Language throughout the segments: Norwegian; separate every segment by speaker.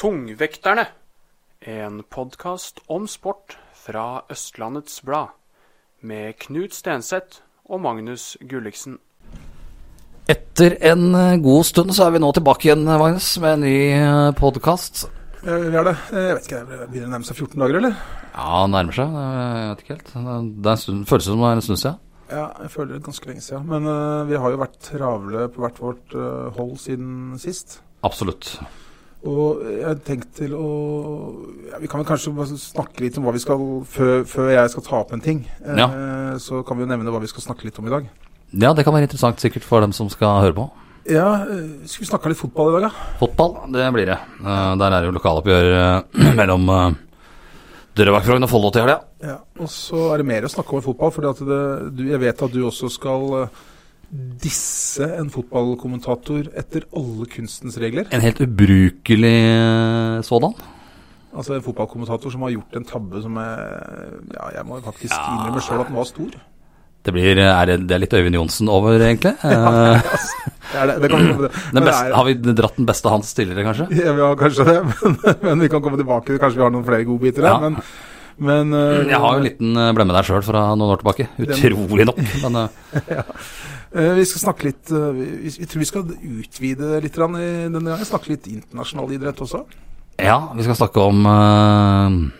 Speaker 1: Tungvekterne, en podkast om sport fra Østlandets Blad, med Knut Stenseth og Magnus Gulliksen.
Speaker 2: Etter en eh, god stund så er vi nå tilbake igjen, eh, Magnus, med en ny podkast.
Speaker 3: Eh, Vi er det. Eh, Jeg vet ikke, det begynner å nærme seg 14 dager, eller?
Speaker 2: Ja, det nærmer seg. Eh, Jeg vet ikke helt. Det er en stund, føles som det er en stund siden.
Speaker 3: Ja, jeg føler det ganske lenge siden. Men eh, vi har jo vært travle på hvert vårt eh, hold siden sist.
Speaker 2: Absolutt.
Speaker 3: Og jeg har tenkt til å ja, Vi kan vel kanskje bare snakke litt om hva vi skal Før, før jeg skal ta opp en ting, eh, så kan vi jo nevne hva vi skal snakke litt om i dag.
Speaker 2: Ja, det kan være interessant sikkert for dem som skal høre på.
Speaker 3: Ja, eh, skal vi snakke litt fotball i dag, ja?
Speaker 2: Fotball, det blir det. Eh, Der er det jo lokaloppgjør eh, mellom eh, Drøbak, Frogn og Follo til helga.
Speaker 3: ja. Og så er det mer å snakke om enn fotball, for jeg vet at du også skal eh, disse en fotballkommentator etter alle kunstens regler.
Speaker 2: En helt ubrukelig eh, sådan.
Speaker 3: Altså en fotballkommentator som har gjort en tabbe som er, ja, jeg må faktisk innrømme sjøl at den var stor.
Speaker 2: Det, blir, eh, er, det- det er litt Øyvind Johnsen over, egentlig. Eh,
Speaker 3: Det er det, det kan vi komme til.
Speaker 2: Mm. Den
Speaker 3: Men det
Speaker 2: beste,
Speaker 3: er-
Speaker 2: har vi dratt den beste hans tidligere, kanskje?
Speaker 3: Ja, vi har kanskje det, men, men vi kan komme tilbake. Kanskje vi har noen flere godbiter der.
Speaker 2: Ja.
Speaker 3: Men, men eh,
Speaker 2: Jeg har jo en liten eh, blemme der sjøl fra noen år tilbake. Utrolig nok. Men eh,
Speaker 3: eh, vi skal snakke litt eh, vi, vi tror vi skal utvide litt grann i denne gangen. Snakke litt internasjonal idrett også.
Speaker 2: Ja, vi skal snakke om eh,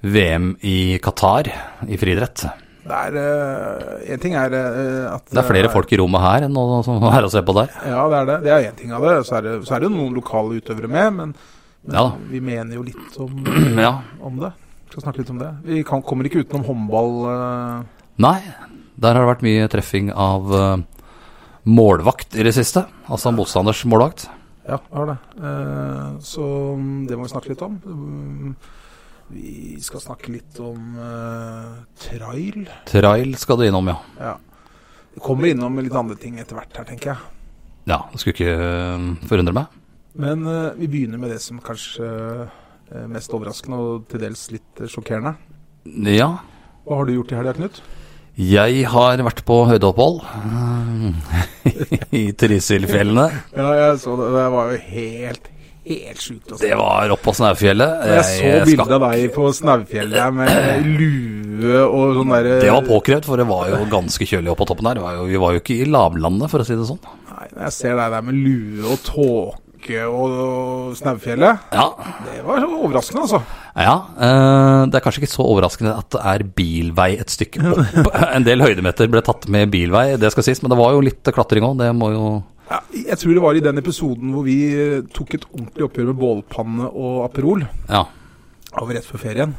Speaker 2: VM i Qatar i friidrett.
Speaker 3: Det er eh, En ting er eh, at
Speaker 2: Det er flere folk i rommet her enn noen som er å se på der.
Speaker 3: Ja, det er det. Det er én ting av det. Så er det, så er det noen lokale utøvere med, men, men
Speaker 2: Ja da.
Speaker 3: vi mener jo litt om
Speaker 2: Ja.
Speaker 3: om det. Vi skal snakke litt om det. Vi kan, kommer ikke utenom håndball. eh,
Speaker 2: Nei, der har det vært mye treffing av eh, målvakt i det siste. Altså motstanders målvakt.
Speaker 3: ja, har det. Eh, så mm, det må vi snakke litt om. Mm, Vi skal snakke litt om eh, trail.
Speaker 2: Trail skal du innom, ja.
Speaker 3: Ja. Vi kommer innom litt andre ting etter hvert her, tenker jeg.
Speaker 2: Ja, det skulle ikke eh, forundre meg.
Speaker 3: Men eh, vi begynner med det som kanskje er mest overraskende og til dels litt eh, sjokkerende.
Speaker 2: Ja,
Speaker 3: Hva har du gjort i helga, Knut?
Speaker 2: jeg har vært på høydeopphold eh, i Trysilfjellene.
Speaker 3: Ja, jeg så det. Det var jo helt, helt sjukt. altså.
Speaker 2: Det var opp på Snaufjellet.
Speaker 3: Jeg så
Speaker 2: Jeg
Speaker 3: bildet
Speaker 2: skal-
Speaker 3: av deg på Snaufjellet med lue og sånn derre
Speaker 2: Det var påkrevd, for det var jo ganske kjølig opp på toppen der. Det var jo, vi var jo ikke i lavlandet, for å si det sånn.
Speaker 3: Nei, når jeg ser deg der med lue og tåke og, og Snaufjellet
Speaker 2: Ja,
Speaker 3: Det var så overraskende, altså.
Speaker 2: ja eh, Det er kanskje ikke så overraskende at det er bilvei et stykke opp. En del høydemeter ble tatt med bilvei, det skal sies, men det var jo litt klatring òg. Det må jo
Speaker 3: Ja, jeg tror det var i den episoden hvor vi eh, tok et ordentlig oppgjør med bålpanne og Aperol.
Speaker 2: Ja.
Speaker 3: av rett før ferien.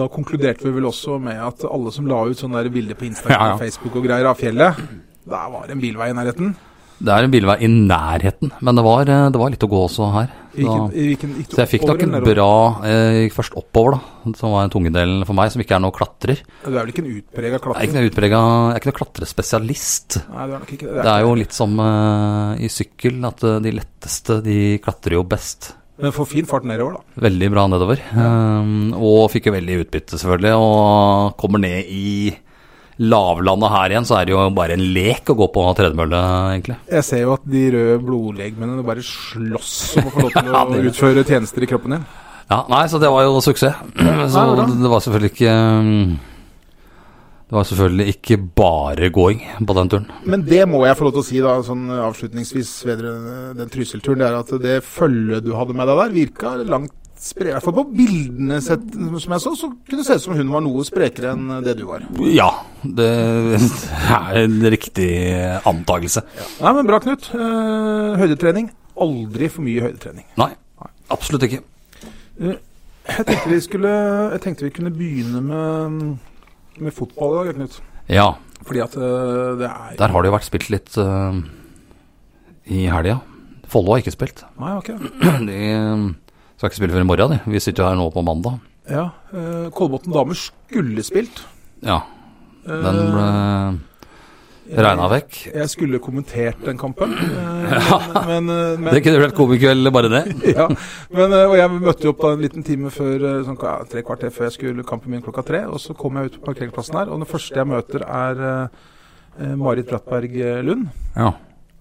Speaker 3: Da konkluderte vi vel også med at alle som la ut sånne der bilder på Instagram
Speaker 2: Ja, ja.
Speaker 3: og Facebook og greier av fjellet, der var det en bilvei i nærheten.
Speaker 2: Det er en bilvei i nærheten, men det var, eh, det var litt å gå også her. Så,
Speaker 3: Hvilken, hvilken, gikk du
Speaker 2: så jeg fikk
Speaker 3: oppover
Speaker 2: nok en
Speaker 3: eller nedover?
Speaker 2: bra Jeg gikk først oppover, da, som var en tungedel for meg, som ikke er noe klatrer. Jeg
Speaker 3: Du er vel ikke en utprega
Speaker 2: er ikke
Speaker 3: klatrer?
Speaker 2: noe utpreget- jeg er ikke noe klatrespesialist.
Speaker 3: Nei, du er nok ikke
Speaker 2: Det er jo litt som eh, i sykkel, at eh, de letteste de klatrer jo best.
Speaker 3: Men får fin fart nedover, da.
Speaker 2: Veldig bra nedover. Ehm, og fikk jo veldig utbytte, selvfølgelig. Og kommer ned i lavlandet her igjen, så er det jo bare en lek å gå på tredemølle, egentlig.
Speaker 3: Jeg ser jo at de røde blodlegemene bare slåss om å få lov til å
Speaker 2: Ja, det-
Speaker 3: utføre tjenester i kroppen din.
Speaker 2: Ja, nei, så det var jo suksess. Så
Speaker 3: Nei, bra.
Speaker 2: det var selvfølgelig ikke ehm, Det var selvfølgelig ikke bare gåing på den turen.
Speaker 3: Men det må jeg få lov til å si da, sånn avslutningsvis vedrørende den Trysil-turen, det er at det følget du hadde med deg der, virka langt spre... I hvert fall på bildene sett, som jeg så, så kunne det se ut som hun var noe sprekere enn det du var.
Speaker 2: Ja, det er en riktig antakelse.
Speaker 3: Nei, men bra, Knut. Eh, høydetrening. Aldri for mye høydetrening.
Speaker 2: Nei, absolutt ikke.
Speaker 3: Jeg tenkte vi, skulle, jeg tenkte vi kunne begynne med, med fotball i dag, Knut.
Speaker 2: Ja,
Speaker 3: Fordi at eh, det er
Speaker 2: Der har det jo vært spilt litt eh, i helga. Follo har ikke spilt.
Speaker 3: Nei, ok.
Speaker 2: De eh, Skal ikke spille før i morgen, de. Vi sitter jo her nå på mandag.
Speaker 3: Ja, eh, Kolbotn damer skulle spilt. Eh,
Speaker 2: Ja, den ble regna vekk.
Speaker 3: Jeg skulle kommentert den kampen, eh, men, men, men
Speaker 2: Det kunne vært komikveld, bare det.
Speaker 3: ja, men, eh, og jeg møtte jo opp da en liten time før eh, sånn, ja, tre kvarter før jeg skulle kampen min klokka tre. Og så kom jeg ut på parkeringsplassen her, og det første jeg møter er eh, eh, Marit Brattberg eh, Lund.
Speaker 2: Ja.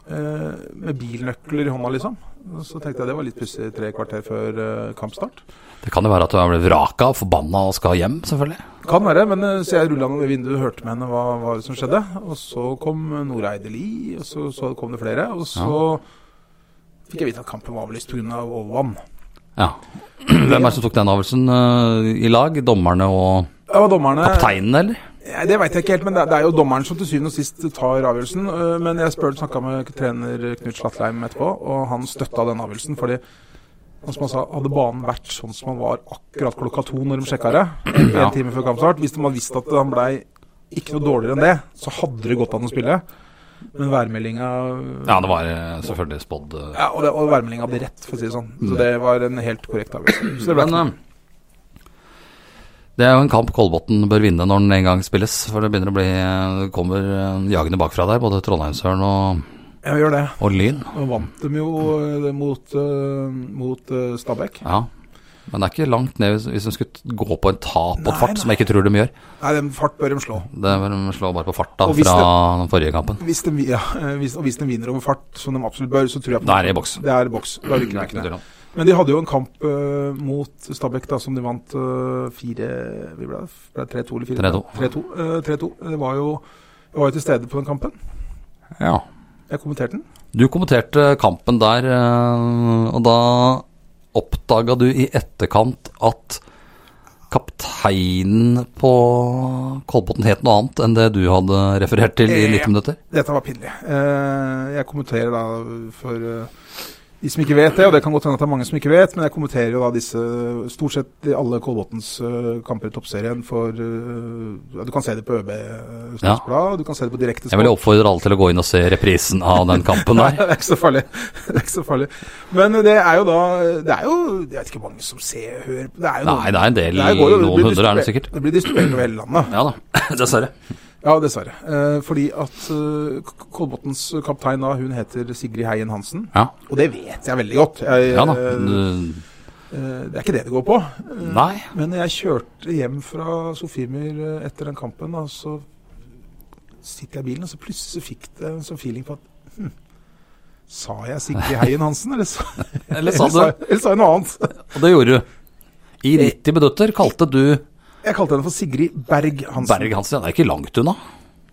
Speaker 3: eh, med bilnøkler i hånda, liksom. Og Så tenkte jeg det var litt pussig tre kvarter før eh, kampstart.
Speaker 2: Det kan jo være at hun ble vraka og forbanna og skal hjem, selvfølgelig.
Speaker 3: Kan være, men eh, så jeg rulla ned vinduet og hørte med henne hva, hva som skjedde. Og så kom eh, Nora Eideli, og så, så kom det flere. Og så fikk jeg vite at kampen var avlyst pga. Av overvann.
Speaker 2: Ja. Hvem er det som tok den avgjørelsen eh, i lag? Dommerne og
Speaker 3: Det var dommerne
Speaker 2: kapteinen, eller?
Speaker 3: Nei, Det veit jeg ikke helt, men det, det er jo dommeren som til syvende og sist tar avgjørelsen. Eh, Men jeg spør, snakka med trener Knut Slatleim etterpå, og han støtta den avgjørelsen. fordi og som han sa, Hadde banen vært sånn som han var akkurat klokka to når de sjekka det,
Speaker 2: Ja.
Speaker 3: en time før kampstart Hvis de hadde visst at han blei ikke noe dårligere enn det, så hadde det gått an å spille. Men værmeldinga
Speaker 2: Ja, det var eh, selvfølgelig spådd. eh.
Speaker 3: ja, og, det- og værmeldinga hadde rett, for å si det sånn. Så det var en helt korrekt avgjørelse. Så det ble
Speaker 2: Men eh, det er jo en kamp Kolbotn bør vinne når den en gang spilles. For det begynner å bli eh, det kommer eh, jagende bakfra der, både Trondheimsøren og,
Speaker 3: Ja, gjør det.
Speaker 2: og Lyn.
Speaker 3: Nå vant de jo eh, mot, eh, mot eh, Stabæk.
Speaker 2: Ja. Men det er ikke langt ned hvis, hvis de skulle gå på en tap og
Speaker 3: Nei,
Speaker 2: fart, som jeg ikke tror de gjør.
Speaker 3: Nei, den fart bør de slå.
Speaker 2: Det er vel De slår bare på farta
Speaker 3: Og hvis
Speaker 2: fra den forrige kampen.
Speaker 3: Hvis de, ja, eh, hvis, og hvis de vinner over fart, som de absolutt bør, så tror jeg på
Speaker 2: Da er det i boks. Mm,
Speaker 3: Det er boks. Da rykker
Speaker 2: Det
Speaker 3: de
Speaker 2: er ikke noe
Speaker 3: ikke ned.
Speaker 2: tvil om.
Speaker 3: Men de hadde jo en kamp eh, mot Stabæk da, som de vant eh, fire vi ble, ble det 3-2 eller 4-2.
Speaker 2: 3-2.
Speaker 3: 3-2. eh, 3-2. Det var jo jeg var jo til stede på den kampen.
Speaker 2: Ja.
Speaker 3: Jeg kommenterte den.
Speaker 2: Du kommenterte kampen der, eh, og da oppdaga du i etterkant at kapteinen på Kolbotn het noe annet enn det du hadde referert til i
Speaker 3: Eh, Ja.
Speaker 2: 90 minutter.
Speaker 3: Dette var pinlig. Eh, jeg kommenterer da for eh, de som ikke vet det, og det kan godt hende at det er mange som ikke vet, men jeg kommenterer jo da disse stort sett i alle Kolbotns eh, kamper i toppserien for eh, ja, Du kan se det på ØB
Speaker 2: Ja.
Speaker 3: Statsblad, du kan se det på direkte
Speaker 2: Jeg vil oppfordre alle til å gå inn og se reprisen av den kampen
Speaker 3: Nei,
Speaker 2: der.
Speaker 3: det er ikke så farlig. Det er ikke så farlig. Men det er jo da Det er jo Jeg vet ikke hvor mange som ser hører på Det er jo
Speaker 2: Nei, det er en del,
Speaker 3: her går jo- det
Speaker 2: noen
Speaker 3: blir
Speaker 2: hundre er det
Speaker 3: distribuert-
Speaker 2: sikkert.
Speaker 3: Det blir distribuert over hele landet.
Speaker 2: Ja da, dessverre.
Speaker 3: Ja, dessverre. Eh, fordi at eh, K- Kolbotns kaptein da, hun heter Sigrid Heien Hansen.
Speaker 2: Ja,
Speaker 3: Og det vet jeg veldig godt. Jeg,
Speaker 2: ja da.
Speaker 3: eh,
Speaker 2: Du-
Speaker 3: eh, det er ikke det det går på. Eh,
Speaker 2: Nei.
Speaker 3: Men jeg kjørte hjem fra Sofiemyr eh, etter den kampen, og så sitter jeg i bilen, og så plutselig så fikk det en sånn feeling på at hm, Sa jeg Sigrid Heien Hansen, eller sa
Speaker 2: Eller sa du,
Speaker 3: Eller sa jeg noe annet.
Speaker 2: og det gjorde du.
Speaker 3: Eh.
Speaker 2: I 90 minutter kalte du
Speaker 3: Jeg kalte henne for Sigrid Berg Hansen.
Speaker 2: Berg Hansen. Det er ikke langt unna.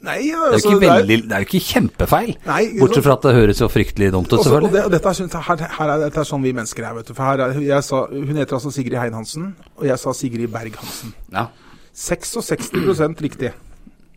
Speaker 3: Nei,
Speaker 2: Det er jo
Speaker 3: altså,
Speaker 2: ikke,
Speaker 3: det er-
Speaker 2: veldig, det er jo ikke kjempefeil.
Speaker 3: Nei, ikke
Speaker 2: Bortsett
Speaker 3: sant?
Speaker 2: fra at det høres jo fryktelig dumt ut,
Speaker 3: Også, altså, og
Speaker 2: selvfølgelig.
Speaker 3: det, og dette er, sånn- her, her er, dette er sånn vi mennesker er, vet du. For her er, jeg sa, hun heter altså Sigrid Hein Hansen, og jeg sa Sigrid Berg Hansen.
Speaker 2: Ja.
Speaker 3: 66 riktig.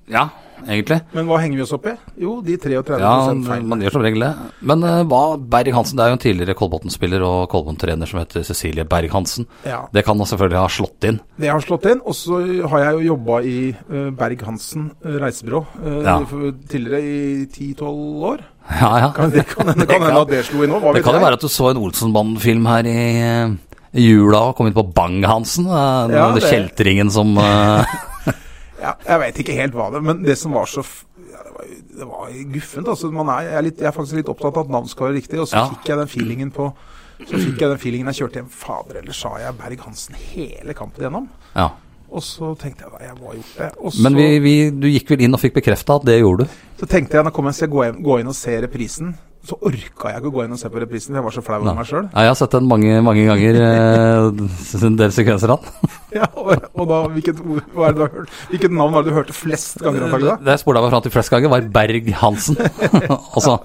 Speaker 2: Ja, egentlig.
Speaker 3: Men hva henger vi oss opp i? Jo, de 33
Speaker 2: Ja,
Speaker 3: feil.
Speaker 2: man gjør som regel det. Men eh, hva Berg-Hansen, det er jo en tidligere Kolbotn-spiller og Kolbotn-trener som heter Cecilie Berg-Hansen.
Speaker 3: Ja.
Speaker 2: Det kan hun selvfølgelig ha slått inn.
Speaker 3: Det har slått inn. Og så har jeg jo jobba i eh, Berg-Hansen eh, reisebyrå eh,
Speaker 2: Ja.
Speaker 3: for- tidligere, i 10-12 år.
Speaker 2: Ja, ja.
Speaker 3: Kan, det kan hende kan hende at det slo inn nå. hva
Speaker 2: Det
Speaker 3: vet
Speaker 2: kan jo
Speaker 3: jeg?
Speaker 2: være at du så en Olsenbanden-film her i eh, i jula og kom inn på Bang-Hansen. eh, Den
Speaker 3: Ja,
Speaker 2: den
Speaker 3: det-
Speaker 2: kjeltringen som eh,
Speaker 3: Ja, jeg veit ikke helt hva det Men det som var så f- ja, det, var, det var guffent. Altså, man er, jeg, er litt, jeg er faktisk litt opptatt av at navn skal være riktig, og så
Speaker 2: Ja.
Speaker 3: fikk jeg den feelingen på så fikk jeg den feelingen jeg kjørte hjem. Fader, eller sa jeg Berg-Hansen hele kampen igjennom?
Speaker 2: Ja.
Speaker 3: Og så tenkte jeg da, jeg må ha gjort det. Og så,
Speaker 2: Men vi, vi, du gikk vel inn og fikk bekrefta at det gjorde du?
Speaker 3: så tenkte jeg, nå kommer jeg, skal jeg gå, hjem, gå inn og se reprisen. Så orka jeg ikke å gå inn og se på reprisen, for jeg var så flau over meg sjøl.
Speaker 2: Ja, jeg har sett den mange, mange ganger, eh, en del sekvenser av den.
Speaker 3: Ja, og, og da, hvilket, ord- hva er det du har hørt? hvilket navn var det du hørte flest
Speaker 2: Eh,
Speaker 3: ganger?
Speaker 2: Det
Speaker 3: Antagelig, da?
Speaker 2: jeg spola meg fram til flest ganger, var Berg-Hansen. Og så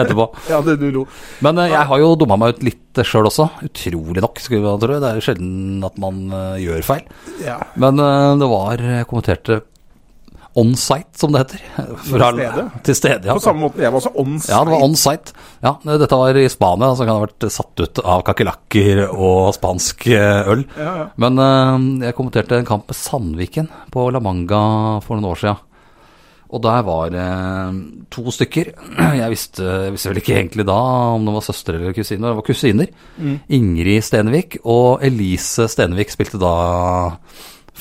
Speaker 2: etterpå.
Speaker 3: Ja, det du lo.
Speaker 2: Men eh, jeg har jo dumma meg ut litt sjøl også. Utrolig nok, skulle man tro. Det er jo sjelden at man eh, gjør feil.
Speaker 3: Ja.
Speaker 2: Men eh, det var Jeg kommenterte on site, som det heter. Fra-
Speaker 3: stede?
Speaker 2: Til stede,
Speaker 3: På
Speaker 2: ja.
Speaker 3: samme måte. Jeg var også ånds.
Speaker 2: Ja, det var on site. Ja, dette var i Spania, så kan det ha vært satt ut av kakerlakker og spansk eh, øl.
Speaker 3: Ja, ja.
Speaker 2: Men eh, jeg kommenterte en kamp med Sandviken på La Manga for noen år siden. Og der var det to stykker. Jeg visste, jeg visste vel ikke egentlig da om det var søstre eller kusiner. Det var kusiner.
Speaker 3: Mm.
Speaker 2: Ingrid Stenvik og Elise Stenvik spilte da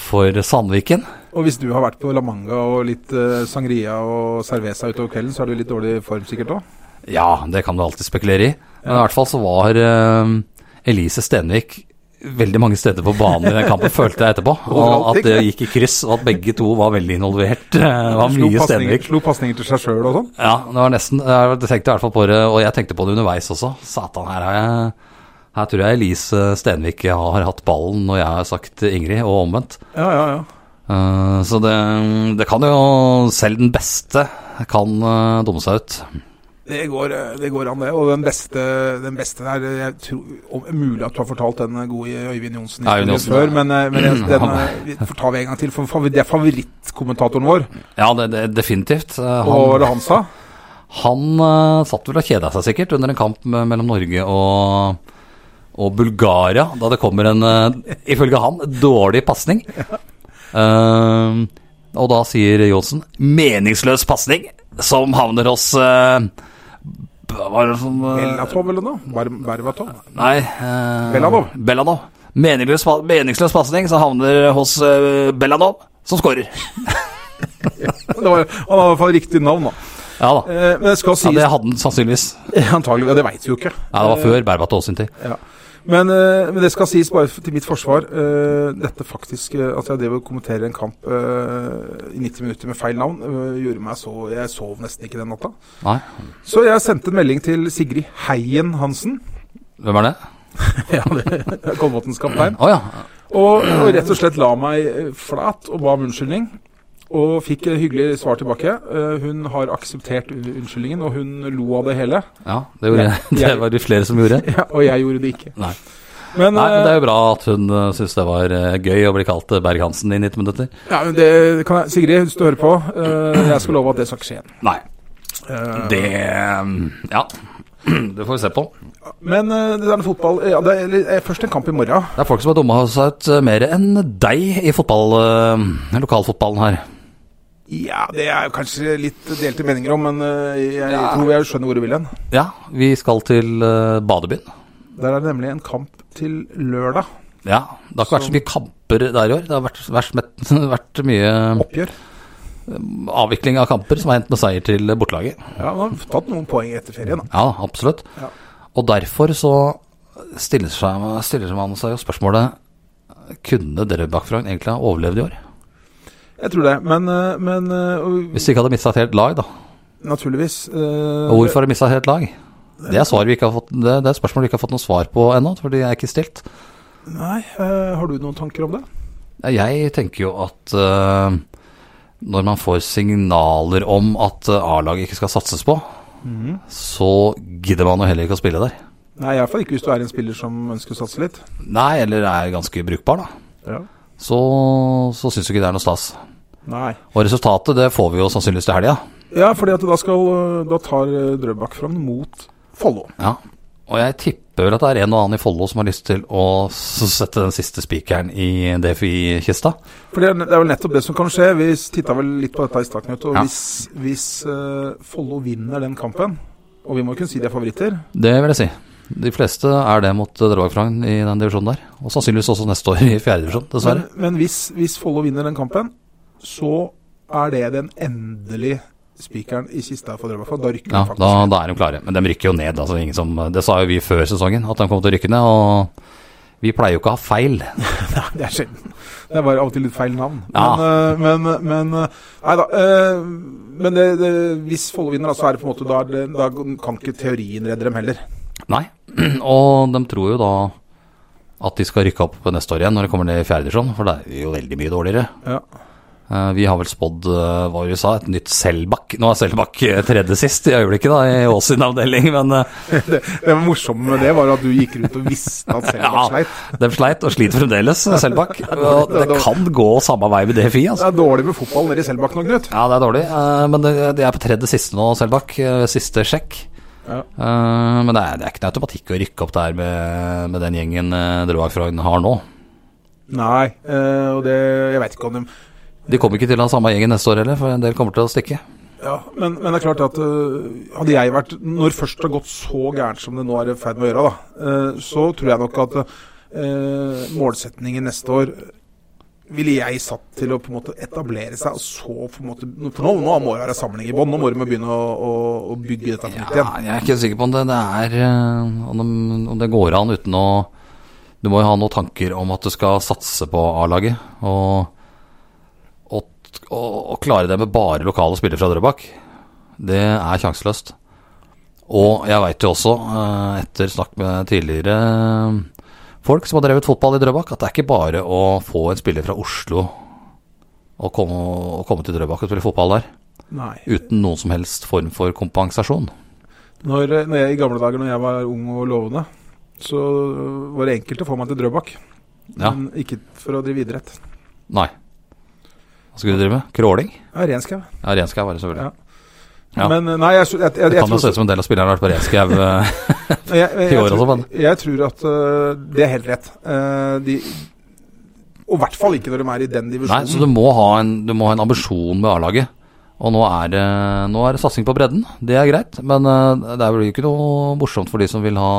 Speaker 2: for Sandviken.
Speaker 3: Og hvis du har vært på La Manga og litt eh, sangria og cerveza utover kvelden, så er du i litt dårlig form sikkert òg?
Speaker 2: Ja, det kan du alltid spekulere i. Men i hvert fall så var eh, Elise Stenvik veldig mange steder på banen i den kampen, følte jeg etterpå. Og
Speaker 3: Overalt,
Speaker 2: at
Speaker 3: ikke?
Speaker 2: det gikk i kryss, og at begge to var veldig involvert. Det var
Speaker 3: Slo
Speaker 2: mye
Speaker 3: pasninger-
Speaker 2: Stenvik.
Speaker 3: Slo pasninger til seg sjøl og sånn?
Speaker 2: Ja, det var nesten Jeg tenkte i hvert fall på det, og jeg tenkte på det underveis også. Satan, her har jeg her tror jeg Elise Stenvik har hatt ballen når jeg har sagt Ingrid, og omvendt.
Speaker 3: Ja, ja, ja.
Speaker 2: Eh, Så det, det kan jo Selv den beste kan eh, dumme seg ut.
Speaker 3: Det går, eh, det går an, det. Og den beste, den beste der jeg tror, om, Mulig at du har fortalt den eh, gode Øyvind Johnsen
Speaker 2: Ja, Øyvind
Speaker 3: historien
Speaker 2: Johnsen, ja.
Speaker 3: før,
Speaker 2: Mm.
Speaker 3: men, eh, men jeg- den
Speaker 2: Han-
Speaker 3: eh, vi får ta vi en gang til. For favor- det er favorittkommentatoren vår,
Speaker 2: Ja, det, det, definitivt. Eh,
Speaker 3: og hva var det han sa?
Speaker 2: Han eh, satt vel og kjeda seg sikkert under en kamp me- mellom Norge og, og Bulgaria, da det kommer en, eh, ifølge han, dårlig pasning. Eh, og da sier Johnsen 'meningsløs pasning', som havner hos eh, b- Hva er det som eh,
Speaker 3: Belatov eller noe? Ber- Berbatov?
Speaker 2: Nei eh,
Speaker 3: Belanov.
Speaker 2: Belanov. Meningsløs, pa- meningsløs pasning som havner hos eh, Belanov, som scorer.
Speaker 3: Det var, han har i hvert fall riktig navn, da.
Speaker 2: Ja da.
Speaker 3: Eh, Men det skal
Speaker 2: Ja,
Speaker 3: sies
Speaker 2: det hadde han sannsynligvis.
Speaker 3: Antagelig, ja, det veit vi jo ikke.
Speaker 2: Ja, det var før Berbatov sin tid.
Speaker 3: Ja. Men, eh, men det skal sies bare til mitt forsvar. eh, dette faktisk eh, At jeg drev og kommenterer en kamp eh, i 90 minutter med feil navn, eh, gjorde meg så Jeg sov nesten ikke den natta.
Speaker 2: Nei,
Speaker 3: Så jeg sendte en melding til Sigrid Heien Hansen,
Speaker 2: hvem er det?
Speaker 3: ja, det er Kolbotns kaptein,
Speaker 2: Å ja.
Speaker 3: og, og rett og slett la meg eh, flat og ba om unnskyldning. Og fikk eh, hyggelig svar tilbake. Eh, Hun har akseptert u- unnskyldningen, og hun lo av det hele.
Speaker 2: Ja, det, gjorde,
Speaker 3: Ja.
Speaker 2: det var det flere som gjorde.
Speaker 3: Ja, og jeg gjorde det ikke.
Speaker 2: Nei.
Speaker 3: Men,
Speaker 2: Nei, men Det
Speaker 3: eh,
Speaker 2: er jo bra at hun uh, syns det var eh, gøy å bli kalt eh, Berg-Hansen i 90 minutter.
Speaker 3: eh, ja, men det kan jeg, Sigrid, hvis du hører på, eh, jeg skal love at det skal ikke skje igjen.
Speaker 2: Nei,
Speaker 3: Eh,
Speaker 2: det eh, Ja, det får vi se på.
Speaker 3: Men eh, det der med fotball ja, det er, eller, eh, Først en kamp i morgen.
Speaker 2: Det er folk som har dumma seg ut eh, mer enn deg i fotball, eh, lokalfotballen her.
Speaker 3: Ja, det er jo kanskje litt delte meninger om, men eh, jeg tror jeg skjønner hvor du vil hen.
Speaker 2: Ja, vi skal til eh, badebyen.
Speaker 3: Der er det nemlig en kamp til lørdag.
Speaker 2: Ja, Det har ikke vært så mye kamper der i år. Det har vært, vært, met- vært mye
Speaker 3: Oppgjør.
Speaker 2: avvikling av kamper som har endt med seier til eh, bortelaget.
Speaker 3: Ja, Han har tatt noen poeng etter ferien. da.
Speaker 2: Ja, absolutt.
Speaker 3: Ja.
Speaker 2: Og derfor så stiller, seg, stiller man seg jo spørsmålet Kunne Drøbak-Frogn egentlig ha overlevd i år?
Speaker 3: Jeg tror det. Men, eh, men eh, og,
Speaker 2: Hvis de ikke hadde mista et helt lag, da.
Speaker 3: naturligvis eh,
Speaker 2: Og hvorfor har de mista et helt lag? Det er, svar vi ikke har fått, det, det er spørsmål vi ikke har fått noe svar på ennå, for de er ikke stilt.
Speaker 3: Nei, eh, har du noen tanker om det?
Speaker 2: Jeg tenker jo at eh, når man får signaler om at eh, A-laget ikke skal satses på, så gidder man jo heller ikke å spille der.
Speaker 3: Nei, iallfall ikke hvis du er en spiller som ønsker å satse litt.
Speaker 2: Nei, eller er ganske brukbar, da. Så, så syns du ikke det er noe stas.
Speaker 3: Nei.
Speaker 2: Og resultatet det får vi jo sannsynligvis til helga.
Speaker 3: Ja, fordi at da, skal, eh, da tar eh, Drøbak fram mot Follo.
Speaker 2: Ja. Og jeg tipper vel at det er en og annen i Follo som har lyst til å s- sette den siste spikeren i DFI-kista.
Speaker 3: For det er, det er vel nettopp det som kan skje. Vi titta vel litt på dette i starten. Og
Speaker 2: Ja.
Speaker 3: hvis, hvis eh, Follo vinner den kampen, og vi må kunne si de er favoritter
Speaker 2: Det vil jeg si. De fleste er det mot Drøbak Frogn i den divisjonen der. Og sannsynligvis også neste år i fjerde divisjon,
Speaker 3: Men,
Speaker 2: dessverre.
Speaker 3: men hvis, hvis Follo vinner den kampen, så er det den endelige spikeren i kista for Drøbak. for Da rykker
Speaker 2: Ja,
Speaker 3: den faktisk.
Speaker 2: da, da er de klare. Men de rykker jo ned. Altså ingen som, det sa jo vi før sesongen, at de kom til å rykke ned. Og vi pleier jo ikke å ha feil.
Speaker 3: Nei, det er sjelden. Det er bare av og til litt feil navn.
Speaker 2: Ja.
Speaker 3: Men, eh, men, men eh, Nei da. eh, Men det, det, hvis Follo vinner, da, så er det på en måte da, er det- da kan ikke teorien redde dem heller.
Speaker 2: Nei. Og de tror jo da at de skal rykke opp neste år igjen, når de kommer ned i fjerde divisjon. For det er jo veldig mye dårligere.
Speaker 3: Ja.
Speaker 2: Eh, Vi har vel spådd eh, hva vi sa, et nytt Selbakk. Nå er Selbakk eh, tredje sist i øyeblikket da, i Ås sin avdeling, men eh,
Speaker 3: Det, det morsomme med det var at du gikk rundt og visste at selv var
Speaker 2: ja,
Speaker 3: sleit.
Speaker 2: de sleit og sliter fremdeles, eh, Selbakk. Og det kan gå samme vei med DFI,
Speaker 3: Det
Speaker 2: altså.
Speaker 3: er dårlig med fotball nede i Selbakk nå, Knut.
Speaker 2: Ja, det er dårlig, eh, men det- de er på tredje siste nå, Selbakk. eh, Siste sjekk.
Speaker 3: Ja.
Speaker 2: Eh, Men det er, det er ikke noe automatikk å rykke opp der med, med den eh, gjengen Drøbak Frogn har nå.
Speaker 3: Nei, eh, og det Jeg veit ikke om de
Speaker 2: De kommer ikke til å ha samme gjengen neste år heller, for en del kommer til å stikke.
Speaker 3: Ja, men, men det er klart at øh, hadde jeg vært Når først det har gått så gærent som det nå er i ferd med å gjøre, da, øh, så tror jeg nok at øh, målsetningen neste år ville jeg satt til å på en måte etablere seg, og så på en måte For nå, nå må det være samling i bånn. Nå må de begynne å, å, å bygge dette på nytt
Speaker 2: Ja,
Speaker 3: igjen.
Speaker 2: jeg er ikke sikker på om det, det er eh, om, de, om det går an uten å Du må jo ha noen tanker om at du skal satse på A-laget. Og, og, og, og klare det med bare lokale spillere fra Drøbak. Det er sjanseløst. Og jeg veit jo også, eh, etter snakk med tidligere eh, folk som har drevet fotball i Drøbak, at det er ikke bare å få en spiller fra Oslo og komme, og komme til Drøbak og spille fotball der
Speaker 3: Nei.
Speaker 2: uten noen som helst form for kompensasjon.
Speaker 3: Når, eh, når jeg, I gamle dager når jeg var ung og lovende, så var det enkelt å få meg til Drøbak.
Speaker 2: Ja.
Speaker 3: Men ikke for å drive idrett.
Speaker 2: Nei. Hva skulle du drive med? Crawling?
Speaker 3: Ja, renskau.
Speaker 2: Ja, renskau var det selvfølgelig.
Speaker 3: Ja.
Speaker 2: Ja.
Speaker 3: Men eh, nei, jeg, jeg, jeg, jeg,
Speaker 2: det kan jo
Speaker 3: tror-
Speaker 2: se ut som en del av spillerne har vært på renskau. eh,
Speaker 3: Jeg, jeg, jeg,
Speaker 2: I år også,
Speaker 3: tror,
Speaker 2: men.
Speaker 3: jeg tror at øh, det er helt rett. Eh, de, og i hvert fall ikke når de er i den
Speaker 2: Nei,
Speaker 3: divisjonen.
Speaker 2: så du må ha en, du må ha en ambisjon med A-laget. Og nå er, det, nå er det satsing på bredden. Det er greit, men eh, det er vel ikke noe morsomt for de som vil ha,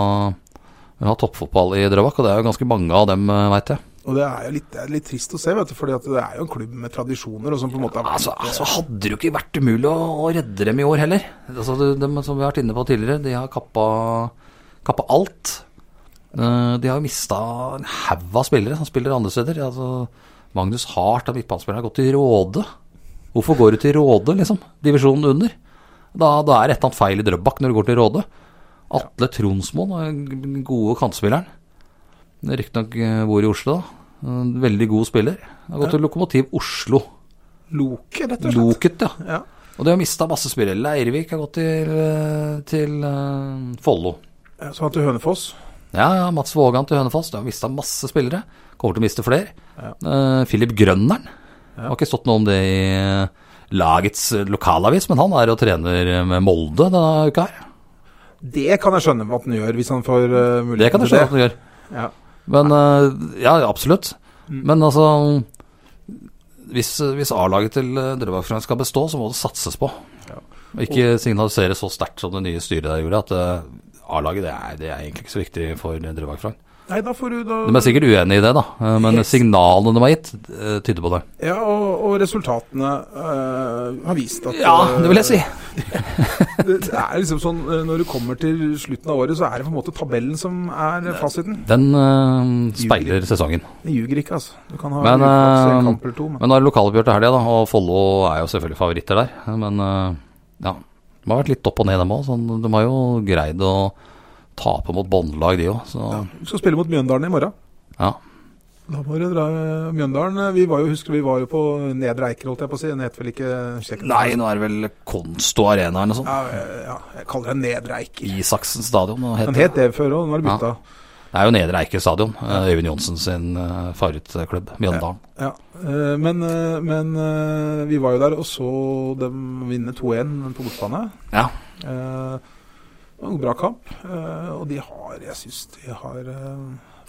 Speaker 2: vil ha toppfotball i Drøbak. Og det er jo ganske mange av dem, veit jeg.
Speaker 3: Og det er jo litt, det er litt trist å se, vet du, fordi at det er jo en klubb med tradisjoner. og som på en måte har vært...
Speaker 2: Altså, altså hadde det jo ikke vært umulig å, å redde dem i år heller. Altså, de, dem som vi har vært inne på tidligere, de har kappa, kappa alt. Eh, De har jo mista en haug av spillere som spiller andre steder. Altså, Magnus Hart av midtbanespillerne har gått til Råde. Hvorfor går du til Råde, liksom? Divisjonen under. Da, da er et eller annet feil i Drøbak når du går til Råde. Atle Tronsmoen, eh, den gode kantspilleren. Riktignok eh, bor i Oslo, da. En Veldig god spiller. Har gått til Lokomotiv Oslo.
Speaker 3: Loke, rett og slett.
Speaker 2: Loket, ja.
Speaker 3: Ja.
Speaker 2: Og de har mista masse spillere. Leirvik har gått til, eh, til eh, Follo.
Speaker 3: Ja, Så han til Hønefoss.
Speaker 2: Ja, ja, Mats Vågan til Hønefoss. De har mista masse spillere. Kommer til å miste flere. Eh, Philip Grønneren. Har ikke stått noe om det i eh, lagets eh, lokalavis, men han er og trener med Molde denne uka her.
Speaker 3: Det kan jeg skjønne at han gjør, hvis han får uh,
Speaker 2: Det
Speaker 3: mulighet
Speaker 2: kan jeg skjønne at han gjør.
Speaker 3: Ja.
Speaker 2: Men eh, Ja, absolutt. Men altså Hvis, hvis A-laget til eh, Drøbak-Frogner skal bestå, så må det satses på. Og Ikke signalisere så sterkt som det nye styret der gjorde, at eh, A-laget det er, det er egentlig ikke så viktig for Drøbak-Frogner.
Speaker 3: Nei, da får du da...
Speaker 2: De er sikkert uenige i det, da, eh, men signalene de har gitt, eh, tyder på det.
Speaker 3: Ja, og, og resultatene eh, har vist at
Speaker 2: Ja, det vil jeg si.
Speaker 3: det, det er liksom sånn, eh, Når du kommer til slutten av året, så er det på en måte tabellen som er fasiten.
Speaker 2: Den eh, speiler sesongen.
Speaker 3: Det ljuger ikke, altså. Du kan ha
Speaker 2: Men,
Speaker 3: utkast i en
Speaker 2: eh,
Speaker 3: kamp eller to, men
Speaker 2: Men nå er det lokaloppgjør til helga, da, og Follo er jo selvfølgelig favoritter der. Men eh, ja, de har vært litt opp og ned, dem òg. Sånn, de har jo greid å tape mot båndlag, de òg. Så ja.
Speaker 3: Du skal spille mot Mjøndalen i morgen. Da må du dra eh, Mjøndalen. eh, Vi var jo, husker du, vi var jo på Nedre Eiker, holdt jeg på å si. Den het vel ikke Kjekken?
Speaker 2: Nei, nå er det vel Konsto Arena eller noe sånt.
Speaker 3: Ja, eh, ja, jeg kaller den Nedre Eiker.
Speaker 2: Isaksen stadion. nå heter
Speaker 3: Den het det før òg, nå er det bytta.
Speaker 2: Det er jo Nedre Eiker stadion. eh, Øyvind Johnsen sin uh, favorittklubb, Mjøndalen.
Speaker 3: Ja. eh, Men, eh, men eh, vi var jo der og så dem vinne 2-1 på bortebane.
Speaker 2: Ja.
Speaker 3: Eh, det var en Bra kamp. eh, Og de har Jeg syns de har eh,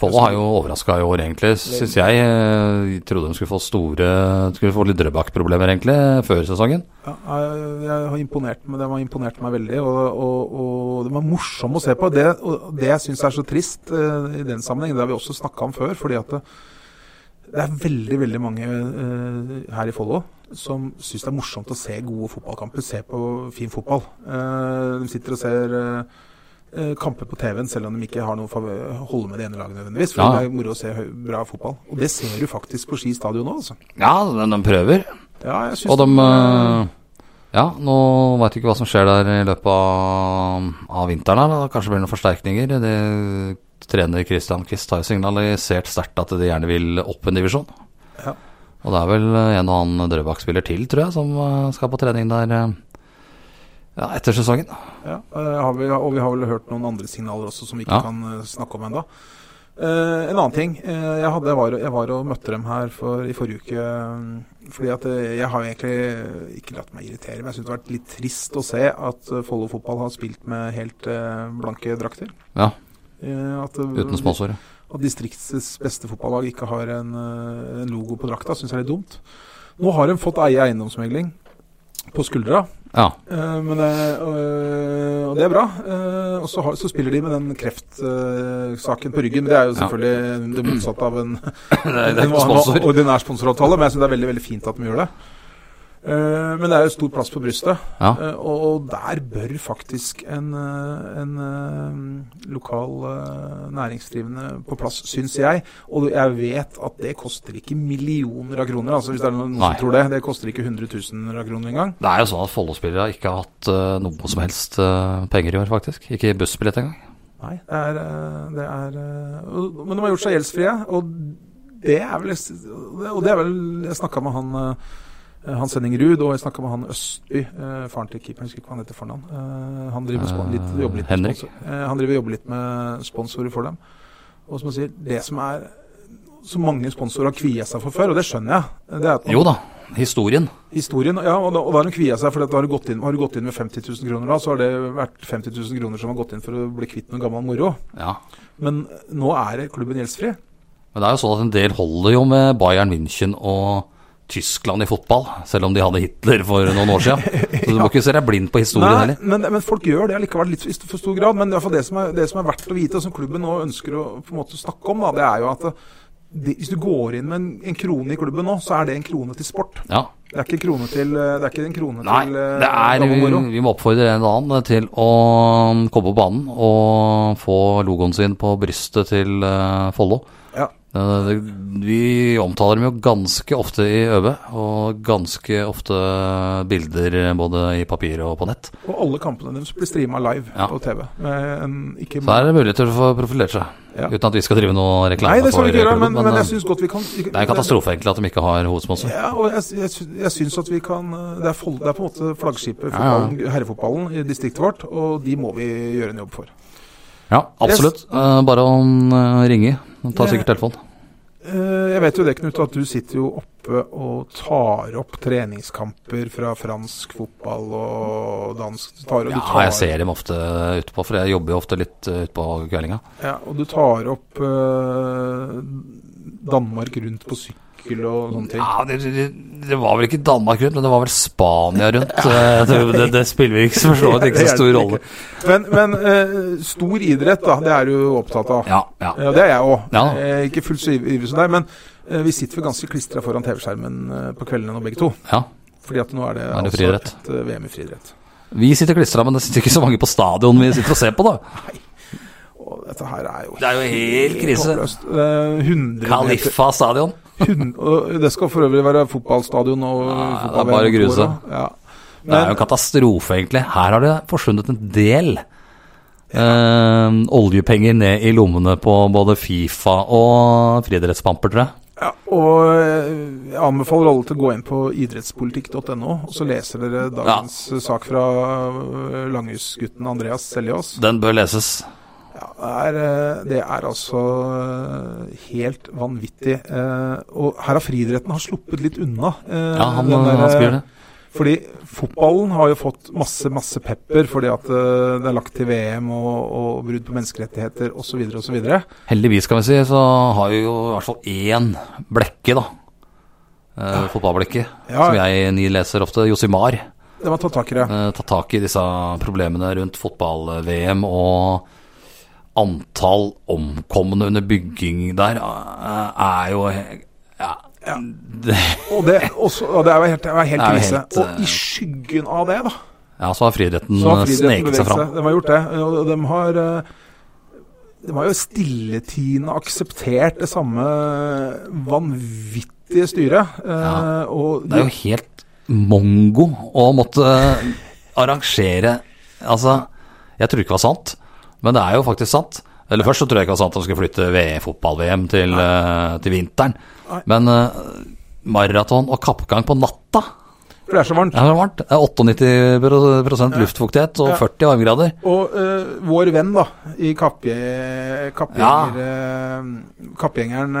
Speaker 2: Follo har jo overraska i år, egentlig, syns jeg. Eh, trodde de skulle få store Skulle få litt Drøbak-problemer, egentlig, før sesongen.
Speaker 3: Ja, jeg, jeg har imponert meg, Den har imponert meg veldig, og, og, og den var morsom å se på. Det, og det jeg syns er så trist eh, i den sammenheng, det har vi også snakka om før, fordi at det, det er veldig veldig mange eh, her i Follo som syns det er morsomt å se gode fotballkamper, se på fin fotball. Eh, de sitter og ser eh, eh, kamper på TV-en, selv om de ikke har noe favør, holder med det ene laget nødvendigvis. For
Speaker 2: Ja.
Speaker 3: det er moro å se høy- bra fotball. Og det ser du faktisk på Ski stadion nå, altså.
Speaker 2: Ja, de, de prøver.
Speaker 3: Ja, jeg synes
Speaker 2: Og de
Speaker 3: det-
Speaker 2: eh, Ja, nå veit vi ikke hva som skjer der i løpet av, av vinteren. her, da. Kanskje blir det noen forsterkninger. Det, trener Christian Quist har jo signalisert sterkt at de gjerne vil opp en divisjon.
Speaker 3: Ja.
Speaker 2: Og det er vel en og annen Drøbak-spiller til, tror jeg, som eh, skal på trening der eh, ja, etter sesongen.
Speaker 3: Ja, eh, har vi, og vi har vel hørt noen andre signaler også som vi ikke
Speaker 2: Ja.
Speaker 3: kan eh, snakke om ennå. Eh, en annen ting. eh, jeg, hadde, jeg, var, jeg var og møtte dem her for, i forrige uke. eh, fordi at eh, jeg har jo egentlig ikke latt meg irritere, men jeg syns det har vært litt trist å se at eh, Follo fotball har spilt med helt eh, blanke drakter.
Speaker 2: Ja,
Speaker 3: Eh, at, eh,
Speaker 2: uten sponsorer.
Speaker 3: At distriktets beste fotballag ikke har en, eh, en logo på drakta, syns jeg er litt dumt. Nå har hun fått eie eiendomsmegling på skuldra,
Speaker 2: Ja.
Speaker 3: eh, men det, øh, og det er bra. Eh, og så, har, så spiller de med den kreftsaken på ryggen. Men det er jo
Speaker 2: Ja.
Speaker 3: selvfølgelig det motsatte av en
Speaker 2: Det er det er
Speaker 3: en
Speaker 2: ikke sponsor.
Speaker 3: ordinær sponsoravtale, men jeg syns det er veldig veldig fint at de gjør det. Eh, men det er jo stor plass på brystet,
Speaker 2: Ja.
Speaker 3: Eh, og, og der bør faktisk en, eh, en eh, lokal eh, næringsdrivende på plass, syns jeg. Og jeg vet at det koster ikke millioner av kroner, altså hvis det er noen
Speaker 2: Nei.
Speaker 3: som tror det. Det koster ikke hundretusener av kroner engang.
Speaker 2: Det er jo sånn at Follo-spillere ikke har hatt eh, noe som helst eh, penger i år, faktisk. Ikke bussbillett engang.
Speaker 3: Nei, det er, eh, det er eh, og- Men de har gjort seg gjeldsfrie, og det er vel Og det er vel Jeg snakka med han eh, Hans Henning Ruud, og jeg snakka med han Østby, eh, faren til keeperen, jeg husker ikke hva han heter for navn. Eh, Han driver med spon-
Speaker 2: Eh,
Speaker 3: litt, jobber litt med
Speaker 2: Henrik?
Speaker 3: sponsor- eh, Han driver og jobber litt med sponsorer for dem. Og som han sier, det som er så mange sponsorer har kvia seg for før, og det skjønner jeg. Det er at man
Speaker 2: Jo da, historien.
Speaker 3: Historien, ja, og da, og da har hun kvia seg, for da har du gått inn, har du gått inn med 50 000 kroner da, så har det vært 50 000 kroner som har gått inn for å bli kvitt noe gammel moro.
Speaker 2: Ja.
Speaker 3: Men nå er klubben gjeldsfri.
Speaker 2: Men det er jo sånn at en del holder jo med Bayern München og Tyskland i fotball, selv om de hadde Hitler for noen år siden. Så du må ikke se deg blind på historien
Speaker 3: Nei,
Speaker 2: heller.
Speaker 3: men, men folk gjør det allikevel litt i for stor grad. Men i hvert fall det som er, det som er verdt å vite, og som klubben nå ønsker å på en måte snakke om, da, det er jo at det, hvis du går inn med en, en krone i klubben nå, så er det en krone til sport.
Speaker 2: Ja.
Speaker 3: Det er ikke en krone til eh, Det er ikke en krone
Speaker 2: Nei,
Speaker 3: til eh,
Speaker 2: det er, um,
Speaker 3: gammel
Speaker 2: vi,
Speaker 3: moro.
Speaker 2: vi må oppfordre en eller annen til å komme på banen og få logoen sin på brystet til eh, Follo.
Speaker 3: Ja.
Speaker 2: Eh, det- Vi omtaler dem jo ganske ofte i Øve, og ganske ofte bilder både i papir og på nett.
Speaker 3: Og alle kampene deres blir streama live
Speaker 2: Ja.
Speaker 3: på TV. Med en, ikke
Speaker 2: Så her er det muligheter til å få profilert seg,
Speaker 3: Ja.
Speaker 2: uten at vi skal drive noe reklame.
Speaker 3: Nei, det skal
Speaker 2: for
Speaker 3: vi ikke gjøre,
Speaker 2: klubben,
Speaker 3: men, men
Speaker 2: eh,
Speaker 3: jeg syns godt vi kan
Speaker 2: det er en katastrofe egentlig at de ikke har hovedsponsor.
Speaker 3: Ja, og jeg, jeg, sy- jeg syns at vi kan eh, Det er, fol- det er på en måte
Speaker 2: Ja,
Speaker 3: flaggskipet,
Speaker 2: ja.
Speaker 3: fotballen, herrefotballen, i distriktet vårt, og de må vi gjøre en jobb for.
Speaker 2: Ja, absolutt. Eh, Bare å eh, ringe. De tar sikkert telefonen.
Speaker 3: Eh, Jeg vet jo det, Knut, at du sitter jo oppe og tar opp treningskamper fra fransk fotball og dansk du tar, du
Speaker 2: Ja,
Speaker 3: tar,
Speaker 2: jeg ser dem ofte utpå, for jeg jobber jo ofte litt eh, utpå kveldinga.
Speaker 3: Ja, og du tar opp eh, Danmark rundt på sykkel og sånne ting.
Speaker 2: Ja, det, det, det var vel ikke Danmark rundt, men det var vel Spania rundt. Eh, Det, det, det spiller ikke for så vidt ikke så stor rolle.
Speaker 3: Men, men eh, stor idrett, da. Det er du jo opptatt av.
Speaker 2: Ja, ja.
Speaker 3: Ja, det er jeg òg.
Speaker 2: Ja.
Speaker 3: Eh, ikke fullt så iv- ivrig som deg, men eh, vi sitter vel ganske klistra foran TV-skjermen eh, på kveldene nå, begge to.
Speaker 2: ja.
Speaker 3: Fordi at nå er det,
Speaker 2: er det
Speaker 3: altså
Speaker 2: friidrett.
Speaker 3: et eh, VM i friidrett.
Speaker 2: Vi sitter klistra, men det sitter ikke så mange på stadion vi sitter og ser på, da.
Speaker 3: Og dette her er jo
Speaker 2: Det er jo helt krise.
Speaker 3: håpløst. Eh, 100 meter
Speaker 2: Kalifa stadion.
Speaker 3: hun- og Det skal for øvrig være fotballstadion og
Speaker 2: Ja, det er
Speaker 3: fotball-
Speaker 2: bare å grue
Speaker 3: og-
Speaker 2: seg.
Speaker 3: Ja.
Speaker 2: Det er jo en katastrofe, egentlig. Her har det forsvunnet en del eh, oljepenger ned i lommene på både Fifa og friidrettspamper, tror jeg.
Speaker 3: Ja, og eh, jeg anbefaler alle til å gå inn på idrettspolitikk.no, og så leser dere dagens eh, sak fra eh, Langhusgutten Andreas Seljås.
Speaker 2: Den bør leses.
Speaker 3: Ja, det er, eh, det er altså eh, helt vanvittig. eh, Og her har friidretten har sluppet litt unna. eh,
Speaker 2: Ja, han,
Speaker 3: den der, eh,
Speaker 2: han skriver det.
Speaker 3: Fordi fotballen har jo fått masse, masse pepper fordi at eh, det er lagt til VM og, og brudd på menneskerettigheter osv. osv.
Speaker 2: Heldigvis, kan vi si, så har vi jo i hvert fall én blekke, da. Eh, fotballblekket,
Speaker 3: Ja.
Speaker 2: som jeg ny leser ofte, Josimar, eh,
Speaker 3: Det må ta tak i det.
Speaker 2: tatt tak i disse problemene rundt fotball-VM og antall omkomne under bygging der eh, er jo he- ja, det,
Speaker 3: Og det, også, og det er jo helt, det er helt
Speaker 2: Det er jo
Speaker 3: krise.
Speaker 2: helt, eh,
Speaker 3: og i skyggen av det, da,
Speaker 2: ja, så har friidretten
Speaker 3: så har
Speaker 2: eh,
Speaker 3: friidretten
Speaker 2: sneket seg
Speaker 3: beveget
Speaker 2: fram.
Speaker 3: seg. De har gjort det. Og de har eh, de har jo stilletiende akseptert det samme vanvittige styret. eh,
Speaker 2: Ja.
Speaker 3: Og
Speaker 2: Det er jo helt mongo å måtte arrangere Altså, jeg tror ikke det var sant, men det er jo faktisk sant. Eller først så tror jeg ikke det var sant at de skulle flytte V- E fotball-VM til, eh, til vinteren.
Speaker 3: Nei.
Speaker 2: Men eh, maraton og kappgang på natta
Speaker 3: for det er så varmt.
Speaker 2: Det er varmt. Det er 98 pro- prosent luftfuktighet og
Speaker 3: Ja.
Speaker 2: 40 varmegrader.
Speaker 3: Og eh, vår venn, da, i kappje, kappgjenger, eh, kappgjengeren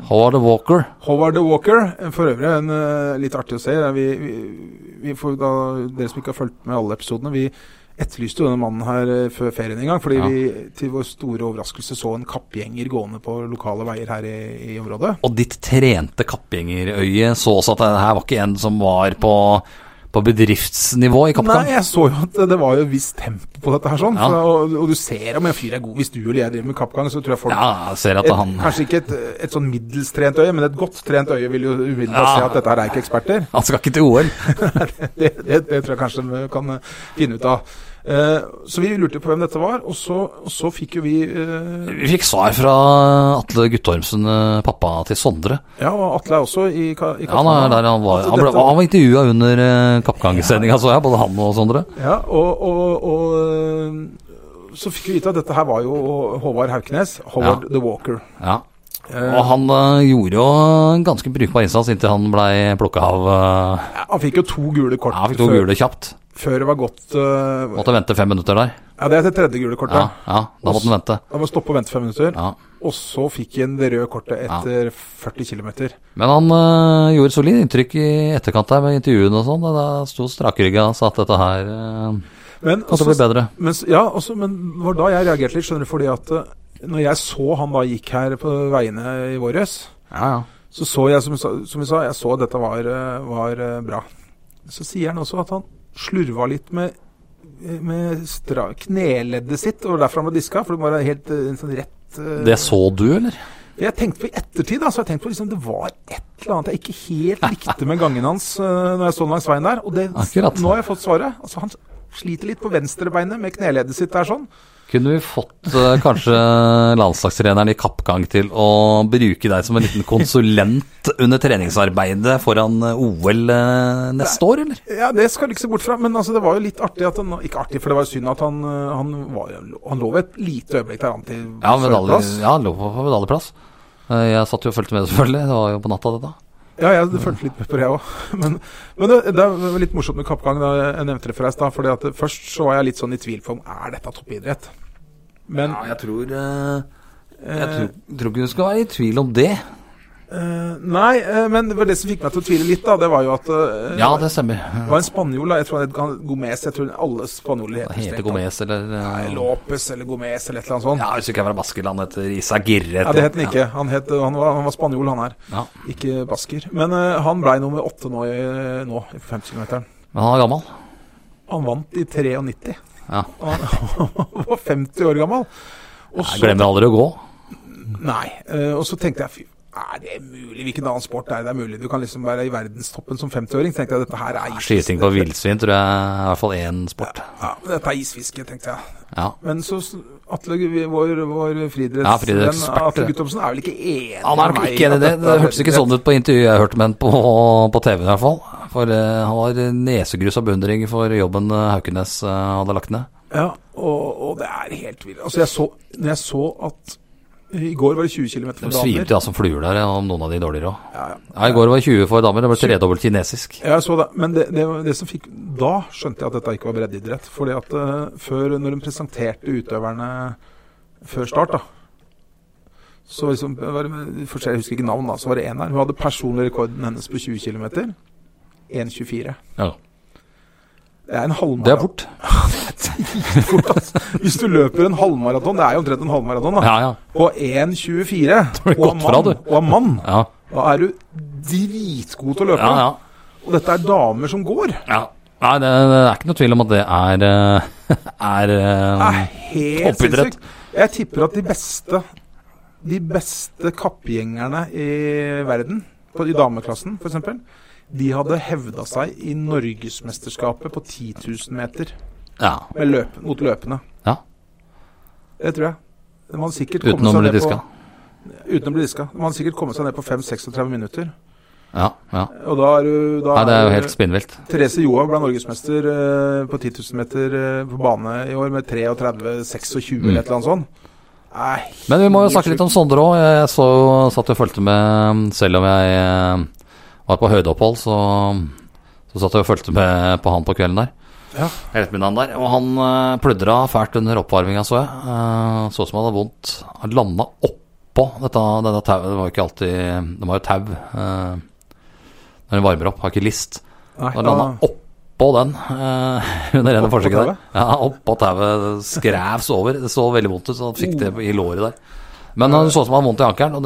Speaker 3: eh,
Speaker 2: Howard Walker.
Speaker 3: Howard Walker, for øvrig en, eh, litt artig å se. Vi, vi, vi får da, dere som ikke har fulgt med alle episodene vi, etterlyste jo denne mannen her eh, før ferien en gang, fordi
Speaker 2: Ja.
Speaker 3: vi til vår store overraskelse så en kappgjenger gående på lokale veier her i, i området.
Speaker 2: Og ditt trente kappgjengerøye så også at det her var ikke en som var på, på bedriftsnivå i
Speaker 3: Nei,
Speaker 2: kappkamp?
Speaker 3: jeg så jo at det var jo visst tempo på dette her, sånn.
Speaker 2: Ja.
Speaker 3: Så, og, og du ser om en fyr er god. Hvis du eller jeg driver med kappgang, så tror jeg folk
Speaker 2: Ja, jeg ser at
Speaker 3: et,
Speaker 2: han
Speaker 3: Kanskje ikke et, et sånn middels trent øye, men et godt trent øye vil jo umiddelbart
Speaker 2: Ja.
Speaker 3: se at dette her er ikke eksperter.
Speaker 2: Han skal ikke til OL.
Speaker 3: det, det, det tror jeg kanskje vi kan eh, finne ut av. Eh, så vi lurte på hvem dette var, og så, og så fikk jo vi eh,
Speaker 2: Vi fikk svar fra Atle Guttormsen, eh, pappa til Sondre.
Speaker 3: Ja, og Atle er også i, ka- i
Speaker 2: Ja, han, er der han var,
Speaker 3: Altså,
Speaker 2: han ble,
Speaker 3: dette-
Speaker 2: han var intervjua under eh, kappgangsendinga, så jeg, både han og Sondre.
Speaker 3: Ja, og, og, og øh, så fikk vi vite at dette her var jo Håvard Hauknes, Howard the Walker.
Speaker 2: Ja.
Speaker 3: Eh,
Speaker 2: Og han eh, gjorde jo en ganske brukbar innsats inntil han blei plukka av eh,
Speaker 3: han fikk jo to gule kort
Speaker 2: Ja, han fikk to
Speaker 3: før,
Speaker 2: gule kjapt.
Speaker 3: før det var gått øh,
Speaker 2: Måtte vente fem minutter der.
Speaker 3: Ja, det er det tredje gule kortet.
Speaker 2: Ja, ja da måtte han vente.
Speaker 3: Da må stoppe og vente fem minutter.
Speaker 2: Ja.
Speaker 3: Og så fikk han det røde kortet etter 40 km.
Speaker 2: Men han øh, gjorde solid inntrykk i etterkant der med intervjuene og sånn. og Da sto strakrygga og sa at dette her øh,
Speaker 3: Men,
Speaker 2: kom til å bli
Speaker 3: også-
Speaker 2: bedre.
Speaker 3: men, s- ja, også, men det var da jeg reagerte litt, skjønner du, fordi at øh, når jeg så han da gikk her på veiene i våres,
Speaker 2: Ja, ja.
Speaker 3: Så så jeg, som, sa- som vi sa, jeg så at dette var, eh, var eh, bra. Så sier han også at han slurva litt med, eh, med stra, kneleddet sitt, og derfor han ble diska. For det var helt eh, en sånn rett eh,
Speaker 2: Det så du, eller?
Speaker 3: Jeg tenkte på i ettertid, da, så jeg tenkte på liksom, det var et eller annet jeg ikke helt likte med gangen hans eh, når jeg så den langs veien der. Og det,
Speaker 2: Akkurat.
Speaker 3: nå har jeg fått svaret. Altså, han sliter litt på venstrebeinet med kneleddet sitt der sånn.
Speaker 2: Kunne vi fått øh, kanskje landslagstreneren i kappgang til å bruke deg som en liten konsulent under treningsarbeidet foran øh, OL øh, neste år, eller?
Speaker 3: Ja, det skal du ikke se bort fra, men altså, det var jo litt artig at han Ikke artig, for det var jo synd at han eh, Han, var, jo- han lå ved et lite øyeblikk der han til
Speaker 2: Ja, medalje,
Speaker 3: førsteplass.
Speaker 2: ja lå på på medaljeplass. Eh, Jeg satt jo og fulgte med, selvfølgelig. Det var jo på natta, det da.
Speaker 3: Ja, jeg følte litt med på det òg. Men, men det, det er litt morsomt med kappgang. Da jeg nevnte det for deg i stad. fordi at det- Først så var jeg litt sånn i tvil på om er dette toppidrett. Men
Speaker 2: jeg tror Eh, Jeg tror, ikke du skal være i tvil om det.
Speaker 3: eh, Nei, eh, men det var det som fikk meg til å tvile litt, da. Det var jo at eh,
Speaker 2: Ja, det stemmer.
Speaker 3: det var en spanjol. da, Jeg tror han het Gan- Gomez. Jeg tror alle spanjoler heter
Speaker 2: Hva heter
Speaker 3: strengt
Speaker 2: Gomez, eller øh,
Speaker 3: tatt. Nei, Lopez eller Gomez eller et eller annet sånt.
Speaker 2: Ja, hvis ikke jeg var Baskeland etter Isa Girre.
Speaker 3: Ja, det het han ikke. Han, het, han, var, han var spanjol, han her.
Speaker 2: Ja.
Speaker 3: Ikke basker. Men eh, han blei nummer åtte nå, i- nå i 50 km.
Speaker 2: Men han er gammel.
Speaker 3: Han vant i 93.
Speaker 2: Ja.
Speaker 3: Og Han han var 50 år gammel. Og
Speaker 2: Jeg
Speaker 3: så,
Speaker 2: glemmer aldri å gå.
Speaker 3: nei, eh, og så tenkte jeg fy, er det mulig? Hvilken annen sport er det det er mulig? Du kan liksom være i verdenstoppen som 50-åring. tenkte jeg, dette her er isfiske.
Speaker 2: Skyting på villsvin tror jeg er i hvert fall én sport.
Speaker 3: Ja, dette er isfiske, tenkte jeg.
Speaker 2: Ja.
Speaker 3: Men så s- Atle, vi- vår, vår friidretts-
Speaker 2: Ja, friidrettsekspert,
Speaker 3: den, Atle
Speaker 2: det.
Speaker 3: Guttormsen er vel ikke enig
Speaker 2: Han er nok
Speaker 3: med meg
Speaker 2: ikke enig i
Speaker 3: at
Speaker 2: det.
Speaker 3: dette
Speaker 2: Det
Speaker 3: er
Speaker 2: hørtes ikke sånn ut på intervjuet jeg hørte med ham på, på TV i hvert fall. For eh, han var nesegrus av beundring for jobben eh, Haukenes eh, hadde lagt ned.
Speaker 3: Ja, og, og det er helt vilt. Altså, jeg så, når jeg så at I går var det 20 km for
Speaker 2: De
Speaker 3: damer.
Speaker 2: svimte ja som fluer der, ja, om noen av de dårligere òg.
Speaker 3: Ja, ja.
Speaker 2: Ja, I går var det 20 for damer, det ble tredobbelt kinesisk.
Speaker 3: Ja, Jeg så det, men det, det, det som fikk Da skjønte jeg at dette ikke var breddeidrett. Fordi at eh, før, når de presenterte utøverne før start, da så liksom, var det, for Jeg husker ikke navn, da. Så var det én her. Hun hadde personlig rekorden hennes på 20 km. 1,24.
Speaker 2: Ja.
Speaker 3: Det er en halvmaraton.
Speaker 2: Det er fort.
Speaker 3: fort, altså. Hvis du løper en halvmaraton, det er jo omtrent en halvmaraton, da.
Speaker 2: Ja, ja.
Speaker 3: På 1,24
Speaker 2: er
Speaker 3: og
Speaker 2: godt fra,
Speaker 3: mann,
Speaker 2: du.
Speaker 3: og er mann,
Speaker 2: Ja,
Speaker 3: da er du dritgod til å løpe.
Speaker 2: ja. ja.
Speaker 3: Og dette er damer som går.
Speaker 2: ja. Nei, det, det er ikke noe tvil om at det er eh, er
Speaker 3: Det
Speaker 2: eh,
Speaker 3: er helt
Speaker 2: Toppidrett.
Speaker 3: sinnssykt. Jeg tipper at de beste De beste kappgjengerne i verden, på, i dameklassen f.eks., de hadde hevda seg i Norgesmesterskapet på 10 000 meter
Speaker 2: Ja.
Speaker 3: med løp, mot løpene.
Speaker 2: Ja.
Speaker 3: Det tror jeg. De hadde sikkert kommet
Speaker 2: Uten å
Speaker 3: seg
Speaker 2: bli
Speaker 3: ned på-
Speaker 2: diska.
Speaker 3: Uten å bli diska. De hadde sikkert kommet seg ned på 5-36 minutter.
Speaker 2: Ja, ja.
Speaker 3: Og da er du da
Speaker 2: Nei, det er jo
Speaker 3: du-
Speaker 2: helt spinnvilt.
Speaker 3: Therese Johaug ble norgesmester eh, på 10 000 meter eh, på bane i år med 33-26
Speaker 2: Mm.
Speaker 3: eller et eller annet sånt. Nei,
Speaker 2: Men vi må jo snakke litt om Sondre òg. Jeg så, jo- satt og fulgte med um, Selv om jeg eh, var på høydeopphold, så, um, så satt jeg og fulgte med på han på kvelden der.
Speaker 3: Ja.
Speaker 2: Eller ettermiddagen der. Og han eh, pludra fælt under oppvarminga, så jeg. Eh, Så ut som han hadde vondt. Han landa oppå dette, dette tauet. Det var jo ikke alltid De har jo tau eh, når de varmer opp, har ikke list.
Speaker 3: Nei,
Speaker 2: Han
Speaker 3: da,
Speaker 2: landa oppå den eh, under ene
Speaker 3: Oppå
Speaker 2: forsøket der.
Speaker 3: tauet?
Speaker 2: Ja, oppå tauet. Skrevs over. Det så veldig vondt ut, så han fikk det i låret der. Men han så ut som han hadde vondt i ankelen, og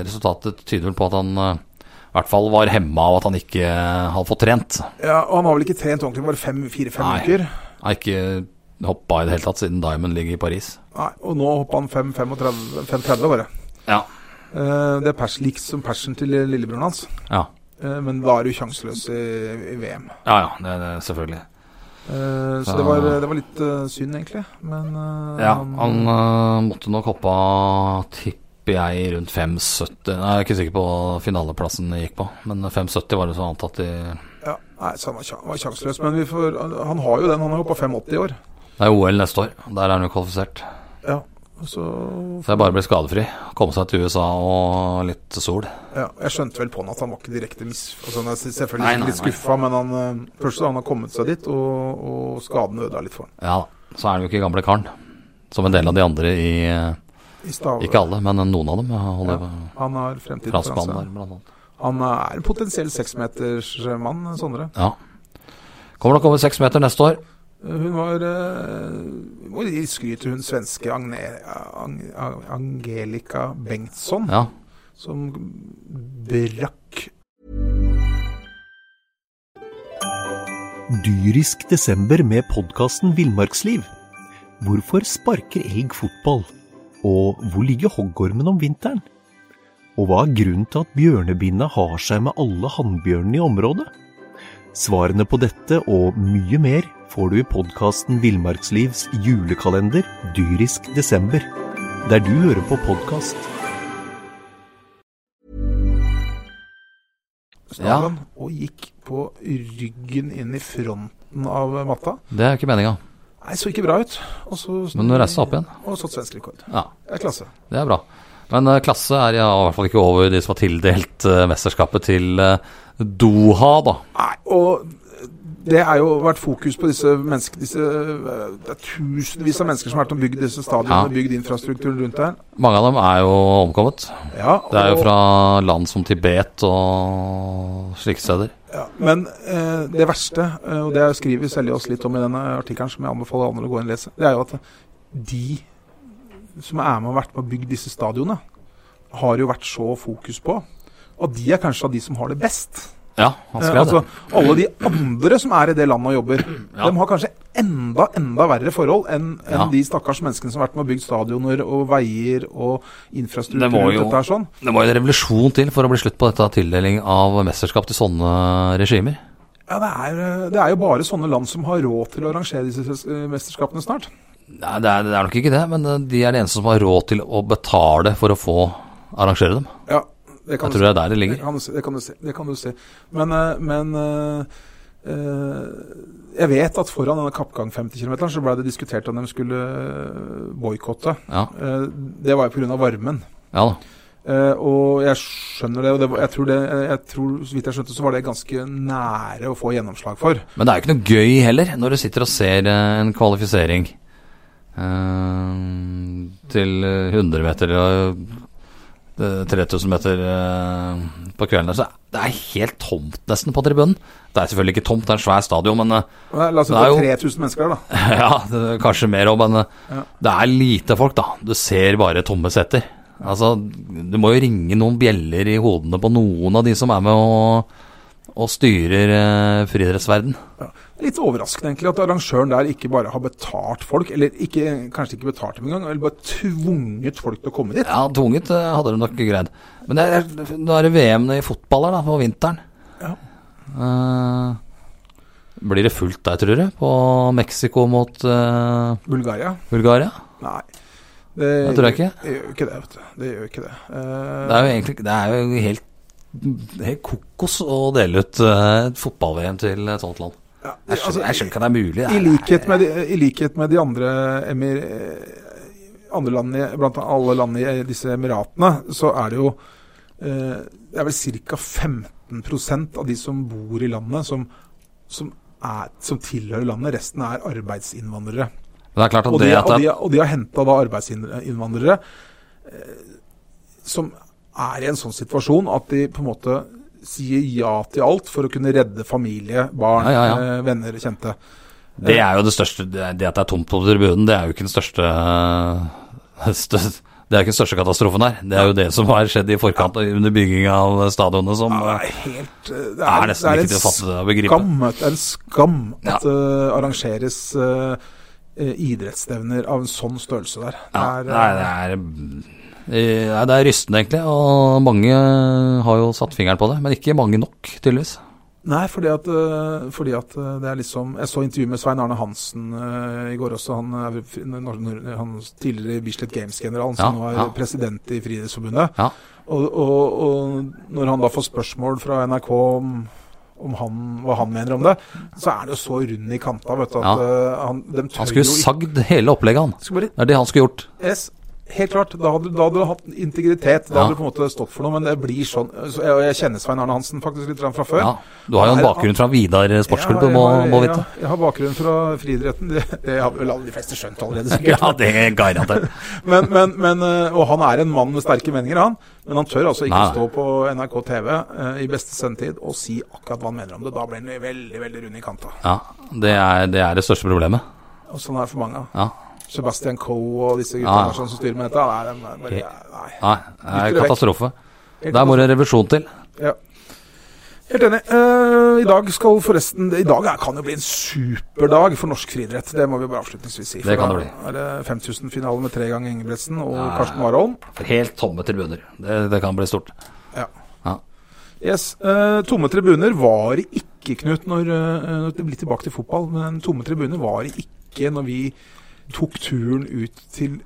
Speaker 2: det resultatet tyder vel på at han eh, i hvert fall var hemma av at han ikke eh, hadde fått trent.
Speaker 3: Ja, og han har vel ikke trent ordentlig, bare fem- fire-fem
Speaker 2: Nei.
Speaker 3: uker.
Speaker 2: Han har ikke hoppa i det hele tatt siden Diamond ligger i Paris.
Speaker 3: Nei, og nå hoppa han 5-35, 5-30 bare.
Speaker 2: Ja.
Speaker 3: Eh, det er pers, lik som persen til lillebroren hans.
Speaker 2: Ja,
Speaker 3: Eh, men da er du sjanseløs i, i VM.
Speaker 2: ja, ja det, det, selvfølgelig.
Speaker 3: Eh, så
Speaker 2: Ja.
Speaker 3: det var, det var litt eh, synd, egentlig. Men eh,
Speaker 2: Ja, han eh, måtte nok hoppe av, tipper jeg, rundt 5,70. Nei, Jeg er ikke sikker på hva finaleplassen de gikk på, men 5,70 var det som antatt i
Speaker 3: ja, Nei, så han var, sjan- var sjanseløs. Men vi får, han har jo den. Han har hoppa 5,80 i år.
Speaker 2: Det er OL neste år. Der er han jo kvalifisert.
Speaker 3: Ja, så
Speaker 2: Så jeg bare ble skadefri. Komme seg til USA og litt sol.
Speaker 3: ja, Jeg skjønte vel på han at han var ikke direkte mis... Altså, han er selvfølgelig
Speaker 2: Nei, nei,
Speaker 3: litt
Speaker 2: nei.
Speaker 3: skuffa, men han, eh, først da han har kommet seg dit, og, og skaden ødela litt for han.
Speaker 2: Ja da. Så er han jo ikke gamle karen. Som en del av de andre i eh,
Speaker 3: I stav,
Speaker 2: Ikke alle, men noen av dem. Holder
Speaker 3: Han har fremtid foran
Speaker 2: franskmannen der,
Speaker 3: seg.
Speaker 2: blant annet.
Speaker 3: Han er en potensiell seksmetersmann, Sondre.
Speaker 2: Ja. Kommer nok over seks meter neste år.
Speaker 3: Hun var eh, Må gi skryt til hun svenske Agne, Ang, Ang- Angelica Bengtsson,
Speaker 2: Ja.
Speaker 3: som brakk
Speaker 4: Dyrisk desember med podkasten Villmarksliv. Hvorfor sparker elg fotball? Og hvor ligger hoggormen om vinteren? Og hva er grunnen til at bjørnebinna har seg med alle hannbjørnene i området? Svarene på dette og mye mer får du i podkasten Villmarkslivs julekalender Dyrisk desember, der du hører på podkast.
Speaker 3: snabelen og gikk på ryggen inn i fronten av matta.
Speaker 2: Det er jo ikke meninga.
Speaker 3: Nei, så ikke bra ut. Og så
Speaker 2: Men du reiser deg opp igjen.
Speaker 3: Og satt svensk rekord.
Speaker 2: Ja.
Speaker 3: Det er klasse.
Speaker 2: Det er bra. Men eh, klasse er ja, i hvert fall ikke over de som har tildelt eh, mesterskapet til eh, Doha, da.
Speaker 3: Nei, og det har jo vært fokus på disse menneskene disse, eh, Det er tusenvis av mennesker som har vært og bygd disse stadionene,
Speaker 2: Ja.
Speaker 3: bygd infrastrukturen rundt der.
Speaker 2: Mange av dem er jo omkommet.
Speaker 3: Ja,
Speaker 2: Det er jo
Speaker 3: og-
Speaker 2: fra land som Tibet og slike steder.
Speaker 3: ja, Men eh, det verste, eh, og det skriver Seljås litt om i denne artikkelen, som jeg anbefaler andre å gå inn og lese, det er jo at de som er med og vært med og bygd disse stadionene, har jo vært så fokus på at de er kanskje av de som har det best.
Speaker 2: Ja, han
Speaker 3: Eh,
Speaker 2: skrev
Speaker 3: altså,
Speaker 2: det.
Speaker 3: alle de andre som er i det landet og jobber, de har kanskje enda enda verre forhold enn enn
Speaker 2: Ja.
Speaker 3: de stakkars menneskene som har vært med og bygd stadioner og veier og infrastruktur.
Speaker 2: Det var
Speaker 3: rundt
Speaker 2: jo-
Speaker 3: dette her sånn.
Speaker 2: Det må jo en revolusjon til for å bli slutt på dette tildeling av mesterskap til sånne regimer.
Speaker 3: ja, det, er, eh, det er jo bare sånne land som har råd til å arrangere disse ses- eh, mesterskapene snart.
Speaker 2: Nei, det er, det er nok ikke det, men eh, de er de eneste som har råd til å betale for å få arrangere dem.
Speaker 3: Ja, det kan
Speaker 2: Jeg tror det
Speaker 3: du si.
Speaker 2: er der det
Speaker 3: Det
Speaker 2: ligger.
Speaker 3: kan du si. Det kan du si. Det kan du si. Men, eh, men eh, eh, jeg vet at foran denne kappgang 50 km så ble det diskutert om de skulle boikotte.
Speaker 2: Ja,
Speaker 3: det var jo pga. varmen.
Speaker 2: ja da.
Speaker 3: Eh, og jeg skjønner det, og det, var- jeg tror det eh, jeg tror, Så vidt jeg skjønte, så var det ganske nære å få gjennomslag for.
Speaker 2: Men det er jo ikke noe gøy heller, når du sitter og ser eh, en kvalifisering eh, til eh, 100 meter og eh, 3000 meter eh, på kvelden. der, Så det er helt tomt nesten på tribunen. Det er selvfølgelig ikke tomt, det er en svær stadion, men eh,
Speaker 3: Men La oss si
Speaker 2: Det er
Speaker 3: det var
Speaker 2: jo-
Speaker 3: 3000 mennesker der, da.
Speaker 2: ja, det er kanskje mer òg, men eh,
Speaker 3: Ja.
Speaker 2: det er lite folk, da. Du ser bare tomme seter. Altså, du må jo ringe noen bjeller i hodene på noen av de som er med og, og styrer eh, friidrettsverden.
Speaker 3: Ja. Litt overraskende egentlig at arrangøren der ikke bare har betalt folk, eller ikke, kanskje ikke betalt dem engang, eller bare tvunget folk til å komme dit.
Speaker 2: Ja, tvunget eh, hadde de nok greid. Men det er, nå er det VM i fotball her, da, på vinteren.
Speaker 3: Ja.
Speaker 2: Eh, blir det fullt der, tror du? På Mexico mot eh,
Speaker 3: Bulgaria?
Speaker 2: Bulgaria?
Speaker 3: Nei.
Speaker 2: Det tror jeg ikke.
Speaker 3: Det gjør jo ikke det, vet du. Det gjør jo ikke det. Eh,
Speaker 2: Det er jo egentlig Det er jo helt, helt kokos å dele ut eh, et fotball-VM til et sånt land.
Speaker 3: ja,
Speaker 2: Jeg
Speaker 3: altså,
Speaker 2: skjønner, jeg skjønner ikke at det er mulig. Det
Speaker 3: I
Speaker 2: er,
Speaker 3: likhet med de, i likhet med de andre, emir, eh, andre landene, i- blant alle landene i disse emiratene, så er det jo eh, Det er vel ca. 15 av de som bor i landet, som, som, er, som tilhører landet. Resten er arbeidsinnvandrere.
Speaker 2: men det er klart at
Speaker 3: Og
Speaker 2: det
Speaker 3: de,
Speaker 2: at
Speaker 3: og
Speaker 2: det
Speaker 3: de,
Speaker 2: er,
Speaker 3: og de har henta da arbeidsinnvandrere eh, som er i en sånn situasjon at de på en måte sier ja til alt for å kunne redde familie, barn,
Speaker 2: Ja, ja, ja.
Speaker 3: eh, venner, kjente.
Speaker 2: Det er jo det største Det det at det er tomt på tribunen, det er jo ikke den største eh, stø- Det er jo ikke den største katastrofen her. Det er jo det som har skjedd i forkant og under bygging av stadionet, som
Speaker 3: Ja,
Speaker 2: eh,
Speaker 3: det er helt eh, Det
Speaker 2: er nesten ikke til å fatte det og begripe.
Speaker 3: skam, vet du. en skam at det arrangeres eh, eh, idrettsstevner av en sånn størrelse der. Det
Speaker 2: ja,
Speaker 3: er,
Speaker 2: Nei, det er eh, nei, det er rystende, egentlig. Og mange har jo satt fingeren på det, men ikke mange nok, tydeligvis.
Speaker 3: eh, Nei, fordi at, øh, fordi at øh, det er liksom Jeg så intervju med Svein Arne Hansen øh, i går også. Han er fri- nor- nor- han tidligere Bislett Games-generalen, som
Speaker 2: Ja,
Speaker 3: nå er
Speaker 2: ja.
Speaker 3: president i Friidrettsforbundet.
Speaker 2: Ja.
Speaker 3: Og, og, og når han da får spørsmål fra NRK om, om han, hva han mener om det, så er det jo så rund i kanta, vet du, at
Speaker 2: Ja.
Speaker 3: øh, han, dem tør
Speaker 2: Han skulle
Speaker 3: jo ikke-
Speaker 2: sagd hele opplegget, han.
Speaker 3: Skulle bare
Speaker 2: Det er det han skulle gjort.
Speaker 3: Yes, helt klart. Da hadde, da hadde du hatt integritet. Da
Speaker 2: Ja.
Speaker 3: hadde du på en måte stått for noe. Men det blir sånn så jeg, og jeg kjenner Svein Arne Hansen faktisk litt fra før.
Speaker 2: Ja. Du har jo en
Speaker 3: Ja,
Speaker 2: bakgrunn fra Vidar sportsklubb,
Speaker 3: Ja,
Speaker 2: du
Speaker 3: jeg
Speaker 2: må,
Speaker 3: har-
Speaker 2: må
Speaker 3: jeg-
Speaker 2: vite.
Speaker 3: Ja, jeg har bakgrunn fra friidretten. Det, det har vel alle de fleste skjønt allerede, sikkert.
Speaker 2: Ja, det er garantert.
Speaker 3: Men, men, men, øh, og han er en mann med sterke meninger, han. Men han tør altså
Speaker 2: Nei.
Speaker 3: ikke stå på NRK TV eh, i beste sendetid og si akkurat hva han mener om det. Da blir han veldig veldig rund i kanta.
Speaker 2: Ja, det er det, er det største problemet.
Speaker 3: Og sånn er det for mange. av.
Speaker 2: Ja.
Speaker 3: Sebastian Coe og disse gutta
Speaker 2: Ja.
Speaker 3: der sånn som styrer med dette. Nei, de er bare,
Speaker 2: Nei,
Speaker 3: nei.
Speaker 2: det
Speaker 3: Dytter
Speaker 2: er
Speaker 3: det vekk.
Speaker 2: katastrofe.
Speaker 3: Helt
Speaker 2: Der må det revisjon til.
Speaker 3: Helt enig. Eh, I dag skal forresten I dag er, kan jo bli en superdag for norsk friidrett. Det må vi bare avslutningsvis si. for
Speaker 2: Det kan
Speaker 3: da
Speaker 2: det bli.
Speaker 3: er det 5000-finale med tre ganger Ingebrigtsen og
Speaker 2: Ja, ja, ja.
Speaker 3: Karsten Warholm.
Speaker 2: Helt tomme tribuner. Det, det kan bli stort.
Speaker 3: Yes. eh, tomme tribuner var det ikke, Knut, når eh, Det blir tilbake til fotball, men tomme tribuner var det ikke når vi tok turen ut til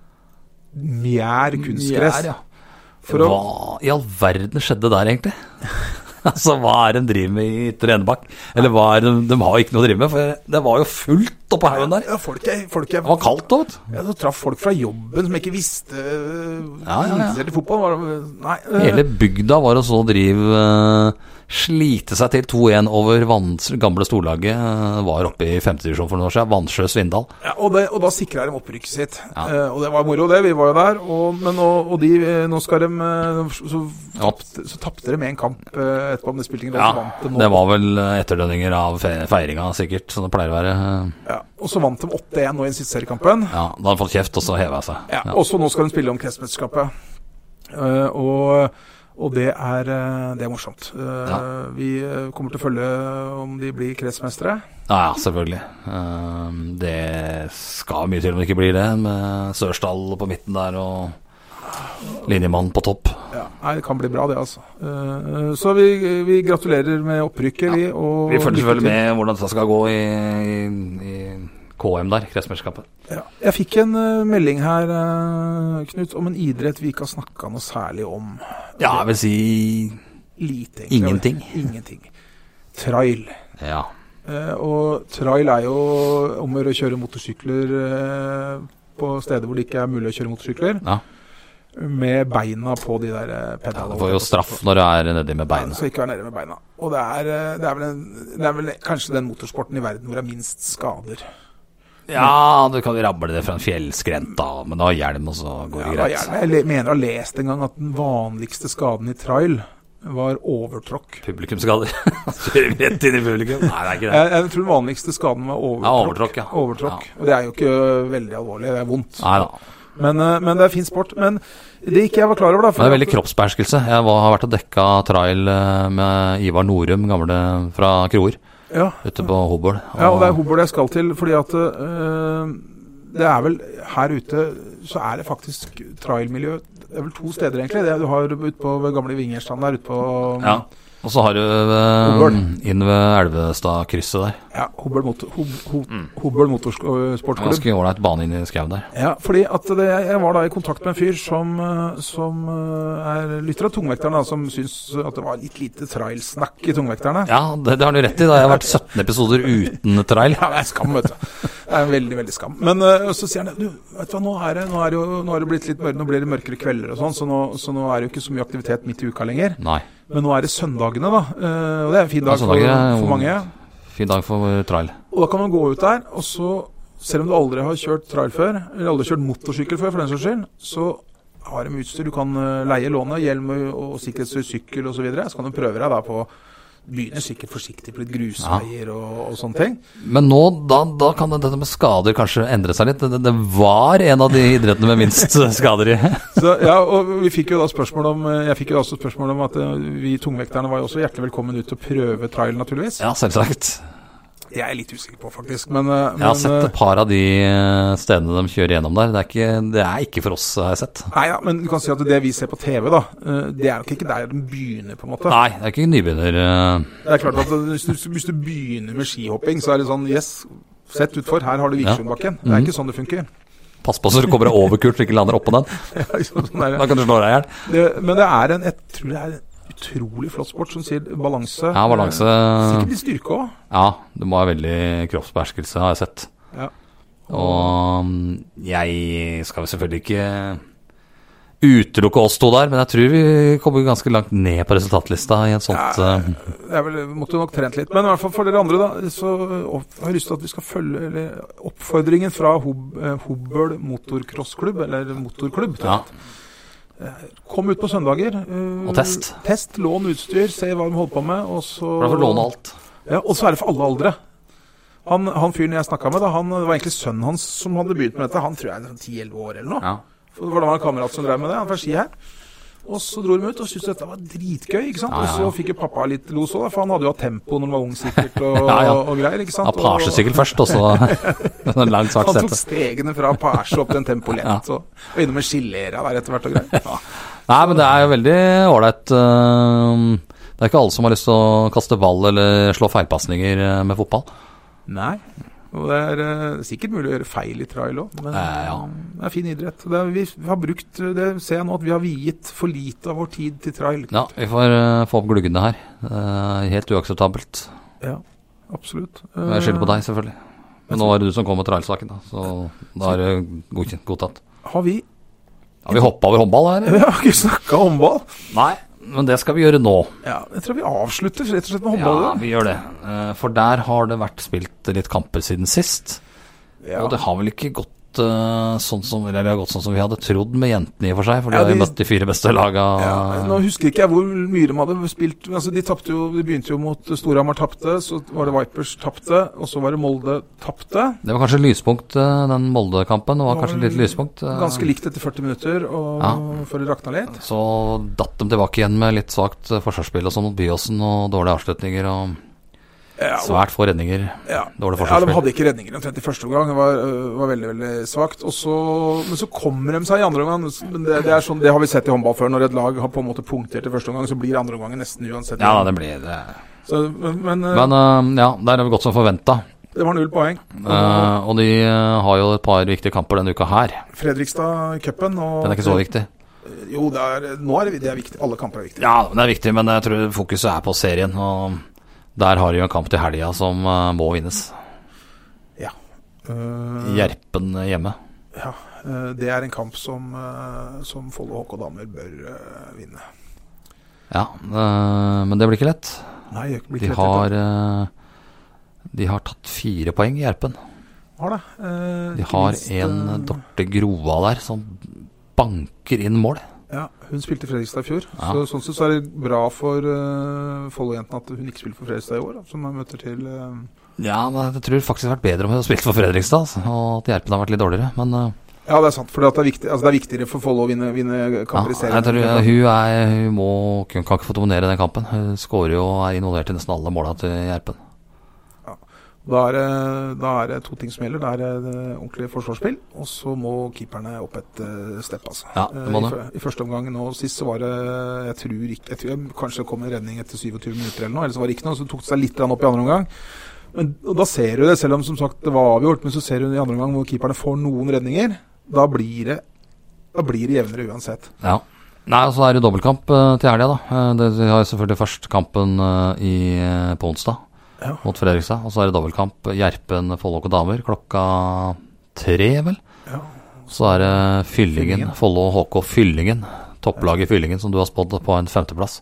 Speaker 3: Mjær kunstgress.
Speaker 2: Ja, ja.
Speaker 3: For å,
Speaker 2: Hva i all verden skjedde der, egentlig? altså, hva er de driver med i Ytre Enebakk? Eller hva er det de, de har jo ikke noe å drive med, for det var jo fullt oppå haugen der.
Speaker 3: ja, folk er, folk er
Speaker 2: Det var kaldt òg, vet du.
Speaker 3: Ja, så traff folk fra jobben som ikke visste øh,
Speaker 2: Ja, ja, ja.
Speaker 3: interessert i fotball. Var, det- nei, øh,
Speaker 2: Hele bygda var og så driv eh, Slite seg til 2-1 over Vans, gamle storlaget. eh, var oppe i femtedivisjon for noen år siden. Vansjø Svindal.
Speaker 3: ja, og, det, og da sikra de opprykket sitt.
Speaker 2: Ja.
Speaker 3: Eh, og det var moro, det. Vi var jo der. Og, men nå, og de, eh, nå skal de eh, Så, så
Speaker 2: Ja.
Speaker 3: tapte- så tapte de en kamp eh, etterpå, men det spilte ingen rolle.
Speaker 2: Ja,
Speaker 3: så vant de nå.
Speaker 2: det var vel eh, etterdønninger av fe- feiringa, sikkert, som det pleier å være.
Speaker 3: Ja, og så vant de 8-1 nå i den siste seriekampen.
Speaker 2: Ja, Da har han fått kjeft, og så heva seg.
Speaker 3: Ja, Og så nå skal de spille om kretsmesterskapet. Eh, og og det, er, eh, det er morsomt. Eh,
Speaker 2: Ja.
Speaker 3: Vi eh, kommer til å følge om de blir kretsmestere.
Speaker 2: Ja, ja, selvfølgelig. Ehm, Det skal mye til om det ikke blir det, med Sørsdal på midten der og linjemannen på topp.
Speaker 3: Ja, nei, det kan bli bra det, altså. Eh, så vi, vi gratulerer med opprykket, vi. Og
Speaker 2: Vi følger
Speaker 3: lykke
Speaker 2: selvfølgelig
Speaker 3: til.
Speaker 2: med hvordan det skal gå i, i, i KM der, kretsmesterskapet.
Speaker 3: Ja. Jeg fikk en eh, melding her, eh, Knut, om en idrett vi ikke har snakka noe særlig om.
Speaker 2: Ja, jeg vil si
Speaker 3: Lite, egentlig.
Speaker 2: Ingenting.
Speaker 3: Ingenting. Trail.
Speaker 2: Ja.
Speaker 3: Eh, og trail er jo om å gjøre å kjøre motorsykler eh, på steder hvor det ikke er mulig å kjøre motorsykler.
Speaker 2: Ja.
Speaker 3: Med beina på de der eh,
Speaker 2: ja
Speaker 3: pedalene.
Speaker 2: du får jo straff når du er nedi med
Speaker 3: Ja,
Speaker 2: beinet.
Speaker 3: Så ikke vær nede med beina. Og det er, eh, det er vel, en, det er vel kanskje den motorsporten i verden hvor det er minst skader.
Speaker 2: Ja, du kan jo rable det fra en fjellskrent, da, men da har hjelm, og så går det
Speaker 3: Ja, hva
Speaker 2: greit.
Speaker 3: gjerne. Jeg le- mener å ha lest en gang at den vanligste skaden i trail var overtråkk.
Speaker 2: Publikumsskader. Kjører rett inn i publikum. Nei, det er ikke det.
Speaker 3: Jeg, jeg tror den vanligste skaden var overtråkk.
Speaker 2: Ja, overtråkk, ja.
Speaker 3: Overtråkk. Og det er jo ikke ø, veldig alvorlig, det er vondt.
Speaker 2: Nei da.
Speaker 3: Men, ø, men det er fin sport. Men det ikke jeg var klar over, da. for
Speaker 2: Men det er veldig
Speaker 3: at-
Speaker 2: kroppsbeherskelse. Jeg var, har vært og dekka trail eh, med Ivar Norum, gamle fra Kroer,
Speaker 3: Ja.
Speaker 2: ute på Hobøl.
Speaker 3: ja, og det er Hobøl jeg skal til, fordi at ø, det er vel her ute så er det faktisk trailmiljø Det er vel to steder, egentlig. Det du har ute på ved gamle Vingerstrand der ute på
Speaker 2: Ja. Og så har du eh,
Speaker 3: Hobøl.
Speaker 2: inn ved Elvestadkrysset der.
Speaker 3: ja, Hobøl, motor, Hob, Hob, Hobøl Motorsportklubb.
Speaker 2: Mm. Ganske ålreit bane inn i skauen der.
Speaker 3: Ja, fordi at det, jeg var da i kontakt med en fyr som, eh, som eh, er lytter av tungvekterne, da, som syns at det var litt lite trailsnakk i tungvekterne.
Speaker 2: Ja, det, det har du rett i. Da. Jeg har vært 17 episoder uten trail.
Speaker 3: Ja, det er skam, vet du. Det er en veldig, veldig skam. Men eh, så sier han du, vet du hva, nå er det, nå er det jo nå er det blitt litt mørkt, nå blir det mørkere kvelder og sånn, så nå, så nå er det jo ikke så mye aktivitet midt i uka lenger.
Speaker 2: Nei.
Speaker 3: Men nå er det søndagene, da. eh, Og det er en fin
Speaker 2: Ja,
Speaker 3: dag for,
Speaker 2: søndager er jo-
Speaker 3: for mange.
Speaker 2: Fin dag for trail.
Speaker 3: Og da kan man gå ut der, og så, selv om du aldri har kjørt trail før, eller aldri har kjørt motorsykkel før, for den saks skyld, så har de utstyr. Du kan eh, leie, låne hjelm og og sikkerhetsutstyr, sykkel osv. Så, videre. så kan du prøve deg da på Begynner sikkert forsiktig på litt grusveier og, og sånne ting.
Speaker 2: Men nå, da, da kan det- dette med skader kanskje endre seg litt. Det, det var en av de idrettene med minst skader i.
Speaker 3: Så, ja, og vi fikk jo da spørsmål om eh, Jeg fikk jo da også spørsmål om at eh, vi tungvekterne var jo også hjertelig velkommen ut til å prøve trail, naturligvis.
Speaker 2: Ja, selvsagt.
Speaker 3: Jeg er litt usikker på, faktisk. Men, eh,
Speaker 2: Jeg har
Speaker 3: men,
Speaker 2: sett
Speaker 3: eh,
Speaker 2: et par av de eh, stedene de kjører gjennom der. Det er ikke, det er ikke for oss, har jeg sett.
Speaker 3: Nei, ja, men du kan si at det vi ser på TV, da, eh, det er nok ikke der den begynner, på en måte.
Speaker 2: Nei, det er ikke nybegynner... eh,
Speaker 3: Det er klart at hvis du, hvis du begynner med skihopping, så er det sånn Yes, sett utfor, her har du Vikersundbakken.
Speaker 2: Mhm.
Speaker 3: Det er ikke sånn det funker.
Speaker 2: Pass på så du kommer deg over Kurt, så du ikke lander oppå den.
Speaker 3: Sånn er det.
Speaker 2: Da kan du slå deg i hjel.
Speaker 3: Det- Men det er en Jeg tror det er en utrolig flott sport som sier balanse.
Speaker 2: Ja, balanse
Speaker 3: Eh, Sikkert litt styrke òg.
Speaker 2: Ja, du må ha veldig kroppsbeherskelse, har jeg sett.
Speaker 3: Ja.
Speaker 2: Og mm, jeg skal jo selvfølgelig ikke utelukke oss to der, men jeg tror vi kommer ganske langt ned på resultatlista i et sånt eh,
Speaker 3: Det er vel, måtte nok trent litt. Men i hvert fall for dere andre, da, så opp, har jeg lyst til at vi skal følge eller, oppfordringen fra Hob, eh, Hobøl motorcrossklubb, eller motorklubb. tror jeg.
Speaker 2: Ja,
Speaker 3: Kom ut på søndager. eh,
Speaker 2: Og test.
Speaker 3: Test, Lån utstyr, se hva de holder på med. Og så,
Speaker 2: for da får du låne alt.
Speaker 3: Ja, og så er det for alle aldre. Han, han fyren jeg snakka med, da, han det var egentlig sønnen hans som hadde begynt med dette. Han tror jeg er sånn 10-11 år eller noe.
Speaker 2: Ja.
Speaker 3: For det var da en kamerat som drev med det. Han var fra ski her. Og så dro de ut og syntes dette var dritgøy. ikke sant?
Speaker 2: Ja, ja, ja.
Speaker 3: Og så fikk jo pappa litt los òg, for han hadde jo hatt tempo når han var ung sikkert og,
Speaker 2: Ja, ja.
Speaker 3: og greier. ikke sant?
Speaker 2: Apasjesykkel først, og så en lang, svart
Speaker 3: Og han tok
Speaker 2: sete.
Speaker 3: stegene fra Apache opp til en tempo lett,
Speaker 2: Ja.
Speaker 3: og, og innom en skillera der etter hvert og greier.
Speaker 2: Nei, men det er jo veldig ålreit. eh, Det er ikke alle som har lyst til å kaste ball eller slå feilpasninger eh, med fotball.
Speaker 3: Nei. Og det er eh, sikkert mulig å gjøre feil i trail òg, men
Speaker 2: Eh, ja.
Speaker 3: det er fin idrett. Det er, vi har brukt, det ser jeg nå, at vi har viet for lite av vår tid til trail.
Speaker 2: Ja, vi får eh, få opp gluggene her. Eh, Helt uakseptabelt.
Speaker 3: Ja, absolutt.
Speaker 2: Og Jeg skylder på
Speaker 3: Eh,
Speaker 2: deg, selvfølgelig. Men nå var det du som kom med trailsaken, da. Så da er det godkjent, godtatt.
Speaker 3: Eh, Har vi
Speaker 2: Har vi hoppa over håndball her?
Speaker 3: Vi har ikke snakka om håndball.
Speaker 2: Nei, men det skal vi gjøre nå.
Speaker 3: Ja, jeg tror vi avslutter rett og slett med
Speaker 2: Ja,
Speaker 3: håndball. da.
Speaker 2: vi gjør det. Eh, For der har det vært spilt litt kamper siden sist.
Speaker 3: Ja.
Speaker 2: Og det har vel ikke gått eh, sånn som Eller det har gått sånn som vi hadde trodd med jentene i og for seg, for de
Speaker 3: Ja,
Speaker 2: har jo
Speaker 3: de-
Speaker 2: møtt de fire beste laga.
Speaker 3: Ja, nå husker ikke jeg hvor mye de hadde spilt altså De tapte jo, de begynte jo mot Storhamar tapte, så var det Vipers tapte, og så var det Molde tapte.
Speaker 2: Det var kanskje lyspunkt, eh, den Molde-kampen. Det var
Speaker 3: Var
Speaker 2: kanskje
Speaker 3: vel
Speaker 2: litt lyspunkt. eh,
Speaker 3: Ganske likt etter 40 minutter, og
Speaker 2: Ja.
Speaker 3: for det rakna litt.
Speaker 2: Så datt de tilbake igjen med litt svakt eh, forsvarsspill og sånn mot Byåsen, og dårlige avslutninger og
Speaker 3: Ja, og
Speaker 2: svært få redninger.
Speaker 3: Ja.
Speaker 2: Dårlig
Speaker 3: ja, de
Speaker 2: forsvarsspill.
Speaker 3: hadde ikke redninger omtrent i første omgang. Det var, øh, var veldig veldig svakt. Og så- Men så kommer de seg i andre omgang. Men det, det er sånn, det har vi sett i håndball før. Når et lag har på en måte punktert i første omgang, så blir andre omgangen nesten uansett.
Speaker 2: Ja, da, det blir det.
Speaker 3: så, men men, øh,
Speaker 2: Men eh, ja, der har vi gått som forventa.
Speaker 3: det var null poeng.
Speaker 2: og de eh, har jo et par viktige kamper denne uka her.
Speaker 3: Fredrikstad-cupen og Eh,
Speaker 2: Den er ikke så viktig.
Speaker 3: Jo, det er, nå er det, det er viktig. Alle kamper er viktige.
Speaker 2: Ja, den er viktig, men jeg tror fokuset er på serien. Og der har de jo en kamp til helga som eh, må vinnes.
Speaker 3: Øh,
Speaker 2: Gjerpen hjemme.
Speaker 3: ja, øh, det er en kamp som, øh, som Follo HK damer bør øh, vinne.
Speaker 2: Ja, eh, men det blir ikke lett.
Speaker 3: Nei, det blir
Speaker 2: De
Speaker 3: ikke
Speaker 2: har
Speaker 3: lett,
Speaker 2: eh, De har tatt fire poeng i Gjerpen.
Speaker 3: har det. Øh,
Speaker 2: De
Speaker 3: ikke
Speaker 2: har
Speaker 3: minst,
Speaker 2: en
Speaker 3: øh,
Speaker 2: Dorte Grova der som banker inn mål.
Speaker 3: Ja, hun spilte i Fredrikstad i fjor.
Speaker 2: Ja.
Speaker 3: Så sånn sett så er det bra for uh, Follo-jentene at hun ikke spiller for Fredrikstad i år, da, som hun møter til eh,
Speaker 2: Ja, men jeg tror faktisk det hadde vært bedre om hun hadde spilt for Fredrikstad, altså, og at Gjerpen har vært litt dårligere. Men eh,
Speaker 3: Ja, det er sant. For det, er viktig- altså, det er viktigere for Follo å vinne, vinne kamper i
Speaker 2: ja, jeg tror,
Speaker 3: serien.
Speaker 2: eh, hun, er, hun må, hun kan ikke få dominere den kampen. Hun skårer jo og er involvert i nesten alle måla til Gjerpen.
Speaker 3: da, er, det- da er det to ting som gjelder. Da er det eh, ordentlig forsvarsspill, og så må keeperne opp et eh, step, altså.
Speaker 2: Ja, det må
Speaker 3: Eh, i,
Speaker 2: det.
Speaker 3: fø- I første omgang nå sist så var det Jeg tror ikke jeg tror, jeg- Kanskje det kom en redning etter 27 minutter eller noe, eller så var det ikke noe. Så tok det seg litt grann opp i andre omgang. Men, og da ser du det, selv om som sagt det var avgjort, men så ser du i andre omgang hvor keeperne får noen redninger. Da blir det da blir det jevnere uansett.
Speaker 2: Ja. Nei, og så er det dobbeltkamp eh, til helga, da. Eh, det- Vi har jo selvfølgelig først kampen eh, i, eh, på onsdag
Speaker 3: Ja.
Speaker 2: mot Fredrikstad. Og så er det dobbeltkamp Gjerpen-Follo og damer klokka tre, vel.
Speaker 3: Ja.
Speaker 2: Så er det Fyllingen,
Speaker 3: Fyllingen.
Speaker 2: Follo HK Fyllingen. Topplaget i Fyllingen som du har spådd på en femteplass.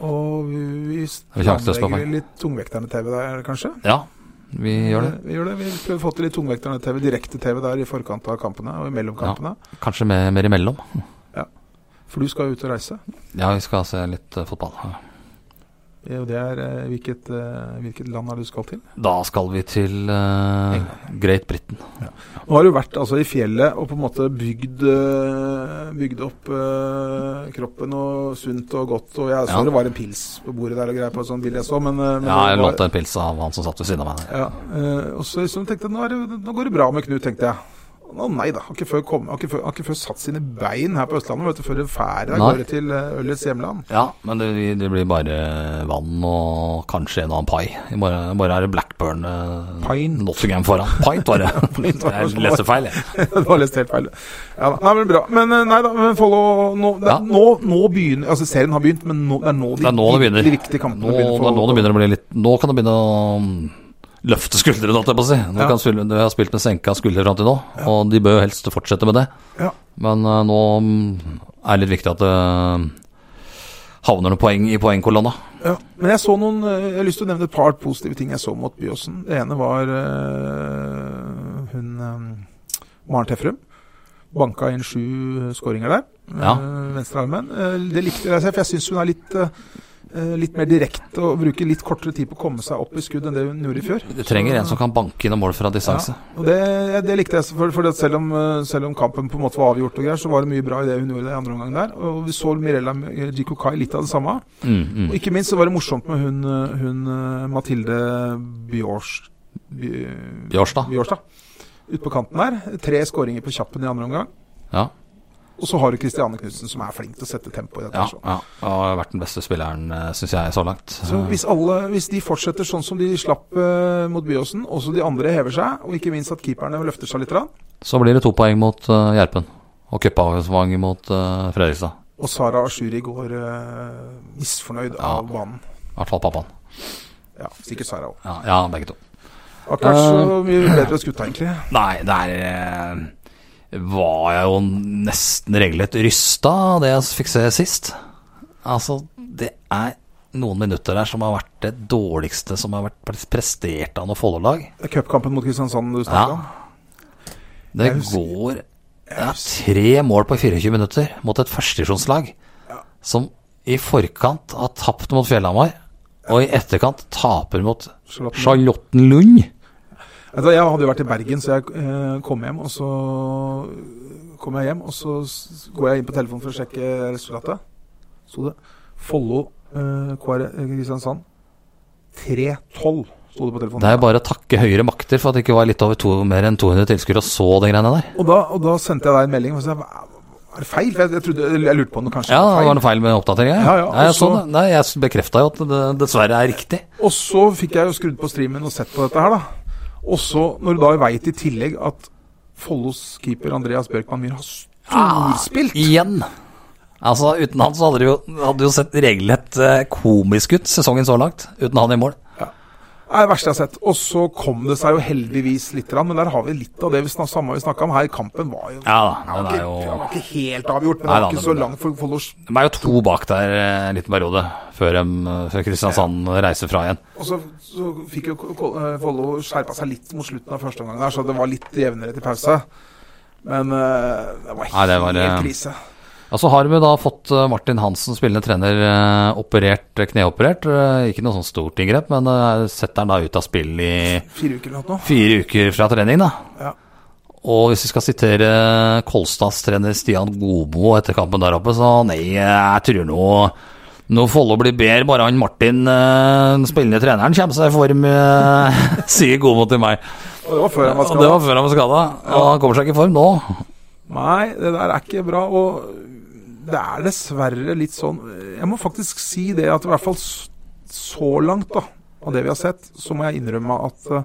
Speaker 3: Og vi
Speaker 2: vi sjanse til å slå
Speaker 3: planlegger litt tungvekterne-TV der, kanskje?
Speaker 2: Ja, vi gjør det.
Speaker 3: Eh, Vi gjør det. Vi prøver å få til litt tungvekterne-TV, direkte-TV der i forkant av kampene og mellom
Speaker 2: Ja.
Speaker 3: kampene.
Speaker 2: Kanskje mer, mer imellom.
Speaker 3: Ja. For du skal jo ut og reise.
Speaker 2: Ja, vi skal se litt eh, fotball.
Speaker 3: Eh, Og det er eh, hvilket, eh, hvilket land er det du skal til?
Speaker 2: Da skal vi til eh, Great Britain.
Speaker 3: Nå har du vært altså, i fjellet og på en måte bygd, eh, bygd opp eh, kroppen og sunt og godt. Og jeg så
Speaker 2: Ja.
Speaker 3: det var en pils på bordet der og greier på et sånt bilde jeg så, men, eh, men
Speaker 2: Ja,
Speaker 3: det
Speaker 2: jeg
Speaker 3: var-
Speaker 2: lånte en pils av han som satt ved siden av meg.
Speaker 3: Ja, eh, og så liksom tenkte jeg nå, er det, nå går det bra med Knut, tenkte jeg. Å nei da, har ikke før, kom, har ikke før, har ikke før satt sine bein her på Østlandet, vet du, før det færer av
Speaker 2: Nei.
Speaker 3: gårde til eh, ølets hjemland.
Speaker 2: Ja, men det, det blir bare vann og kanskje en og annen pai. I morgen, i morgen er det Blackburn eh,
Speaker 3: Pint.
Speaker 2: Nottingham foran. Pint, var det.
Speaker 3: var det som
Speaker 2: jeg leste feil, jeg.
Speaker 3: det var lest helt feil. Ja, da. nei, men bra. Men eh, nei da, men Follo nå, det, er-
Speaker 2: Ja.
Speaker 3: nå, nå begynner Altså, serien har begynt, men nå, det er nå de
Speaker 2: Det er nå det begynner.
Speaker 3: virkelig viktige kampene
Speaker 2: Nå,
Speaker 3: begynner.
Speaker 2: det er nå det begynner å bli litt Nå kan det begynne å mm, løfte skuldrene, holdt jeg på å si. Nå
Speaker 3: Ja.
Speaker 2: kan skuldre, de har spilt med senka skuldre fram til nå, og de bør jo helst fortsette med det.
Speaker 3: Ja.
Speaker 2: Men eh, nå mm, er det litt viktig at det havner noen poeng i poengkolonna.
Speaker 3: Ja, men jeg så noen eh, Jeg har lyst til å nevne et par positive ting jeg så mot Byåsen. Det ene var eh, hun eh, Maren Tefrum. Banka inn sju eh, skåringer der.
Speaker 2: Ja.
Speaker 3: eh, venstrearmen. Eh, det likte jeg, for jeg syns hun er litt eh, eh, Litt mer direkte og bruker litt kortere tid på å komme seg opp i skudd enn det hun gjorde i fjor.
Speaker 2: De trenger en som kan banke inn og mål fra distanse.
Speaker 3: Og det, det likte jeg, for, for det at selv, om, eh, selv om kampen på en måte var avgjort, og greier, så var det mye bra i det hun gjorde i andre omgang der. Og vi så Mirella Jikokai litt av det samme.
Speaker 2: Mm, mm.
Speaker 3: Og ikke minst så var det morsomt med hun, hun eh, Mathilde Bjårs, Bj-
Speaker 2: Bjørstad.
Speaker 3: Bjårstad. Ute på kanten der. Tre skåringer på kjappen i andre omgang.
Speaker 2: Ja.
Speaker 3: Og så har du Kristiane Knutsen, som er flink til å sette tempo i dette.
Speaker 2: Ja,
Speaker 3: her, så.
Speaker 2: ja. Og har vært den beste spilleren, syns jeg, så langt. Eh,
Speaker 3: Så hvis, alle, hvis de fortsetter sånn som de slapp eh, mot Byåsen, også de andre hever seg, og ikke minst at keeperne løfter seg litt, grann,
Speaker 2: Så blir det to poeng mot eh, Gjerpen. Og cupavsvang mot eh, Fredrikstad.
Speaker 3: og Sara Ashuri går eh, misfornøyd av banen.
Speaker 2: I hvert fall pappaen.
Speaker 3: Ja, sikkert Sara òg.
Speaker 2: Ja, ja, begge to.
Speaker 3: Har ikke vært så mye bedre skutt, egentlig.
Speaker 2: Nei, der eh, var jeg jo nesten regelrett rysta av det jeg fikk se sist. Altså, det er noen minutter der som har vært det dårligste som har vært prestert av noe Follo-lag.
Speaker 3: Det er Cupkampen mot Kristiansand du
Speaker 2: Ja.
Speaker 3: snakker om.
Speaker 2: Det
Speaker 3: Jeg husker-
Speaker 2: går ja, tre mål på 24 minutter mot et førstedivisjonslag som i forkant har tapt mot Fjellhamar, og i etterkant taper mot
Speaker 3: Charlotten-
Speaker 2: Charlottenlund.
Speaker 3: Vet du hva, Jeg hadde jo vært i Bergen, så jeg eh, kom hjem, og så kom jeg hjem, og så s- går jeg inn på telefonen for å sjekke resultatet. Sto det Follo eh, KR Kristiansand 3-12, sto det på telefonen.
Speaker 2: Det er jo bare å takke høyere makter for at det ikke var litt over to, mer enn 200 tilskuere og så de greiene der.
Speaker 3: Og, da, og da sendte jeg deg en melding. Og så, er det feil? For jeg, jeg, trodde, jeg lurte på om det kanskje
Speaker 2: Ja,
Speaker 3: var
Speaker 2: var
Speaker 3: feil.
Speaker 2: det feil med oppdateringa?
Speaker 3: Ja, ja,
Speaker 2: Nei, jeg,
Speaker 3: og så-
Speaker 2: så det. Nei, jeg bekrefta jo at det dessverre er riktig.
Speaker 3: Og så fikk jeg jo skrudd på streamen og sett på dette her, da. Og så, når du da veit i tillegg at Follos keeper Andreas Bjørkman Myhr har storspilt
Speaker 2: Igjen. Altså, uten han så hadde det jo, hadde det jo sett regelrett eh, komisk ut, sesongen så langt. Uten han i mål.
Speaker 3: Det
Speaker 2: Ah.
Speaker 3: er det verste jeg har sett. Og så kom det seg jo heldigvis litt, grann, men der har vi litt av det vi snak, samme vi snakka om her. Kampen var jo
Speaker 2: Ja da, den
Speaker 3: ikke,
Speaker 2: er jo
Speaker 3: den var ikke helt avgjort, men
Speaker 2: Nei
Speaker 3: det
Speaker 2: da,
Speaker 3: var ikke
Speaker 2: den-
Speaker 3: så langt for Follo.
Speaker 2: De er jo to bak der eh, en liten periode, før, dem, eh, før Kristiansand reiser fra igjen.
Speaker 3: Og så, så fikk jo Ko- Ko- eh, Follo skjerpa seg litt mot slutten av første omgang der, så det var litt jevnere til pause. Men eh, det var
Speaker 2: Nei,
Speaker 3: helt
Speaker 2: det var, eh,
Speaker 3: krise.
Speaker 2: Ja, Så har vi da fått eh, Martin Hansen, spillende trener, eh, operert, eh, kneoperert. Eh, Ikke noe sånn stort inngrep, men eh, setter han da ut av spill i
Speaker 3: Fire uker eller noe. nå.
Speaker 2: fire uker fra trening, da.
Speaker 3: Ja.
Speaker 2: Og hvis vi skal sitere Kolstads trener Stian Godbo etter kampen der oppe, så nei, jeg tror nå nå Follo blir bedre, bare han Martin, eh, den spillende treneren, kommer seg i form, eh, sier Godbo til meg.
Speaker 3: Og det var før han var
Speaker 2: Og det
Speaker 3: skada.
Speaker 2: var før han var skada. Og han kommer seg ikke i form nå.
Speaker 3: Nei, det der er ikke bra. Og det er dessverre litt sånn Jeg må faktisk si det at i hvert fall s- så langt da, av det vi har sett, så må jeg innrømme at eh,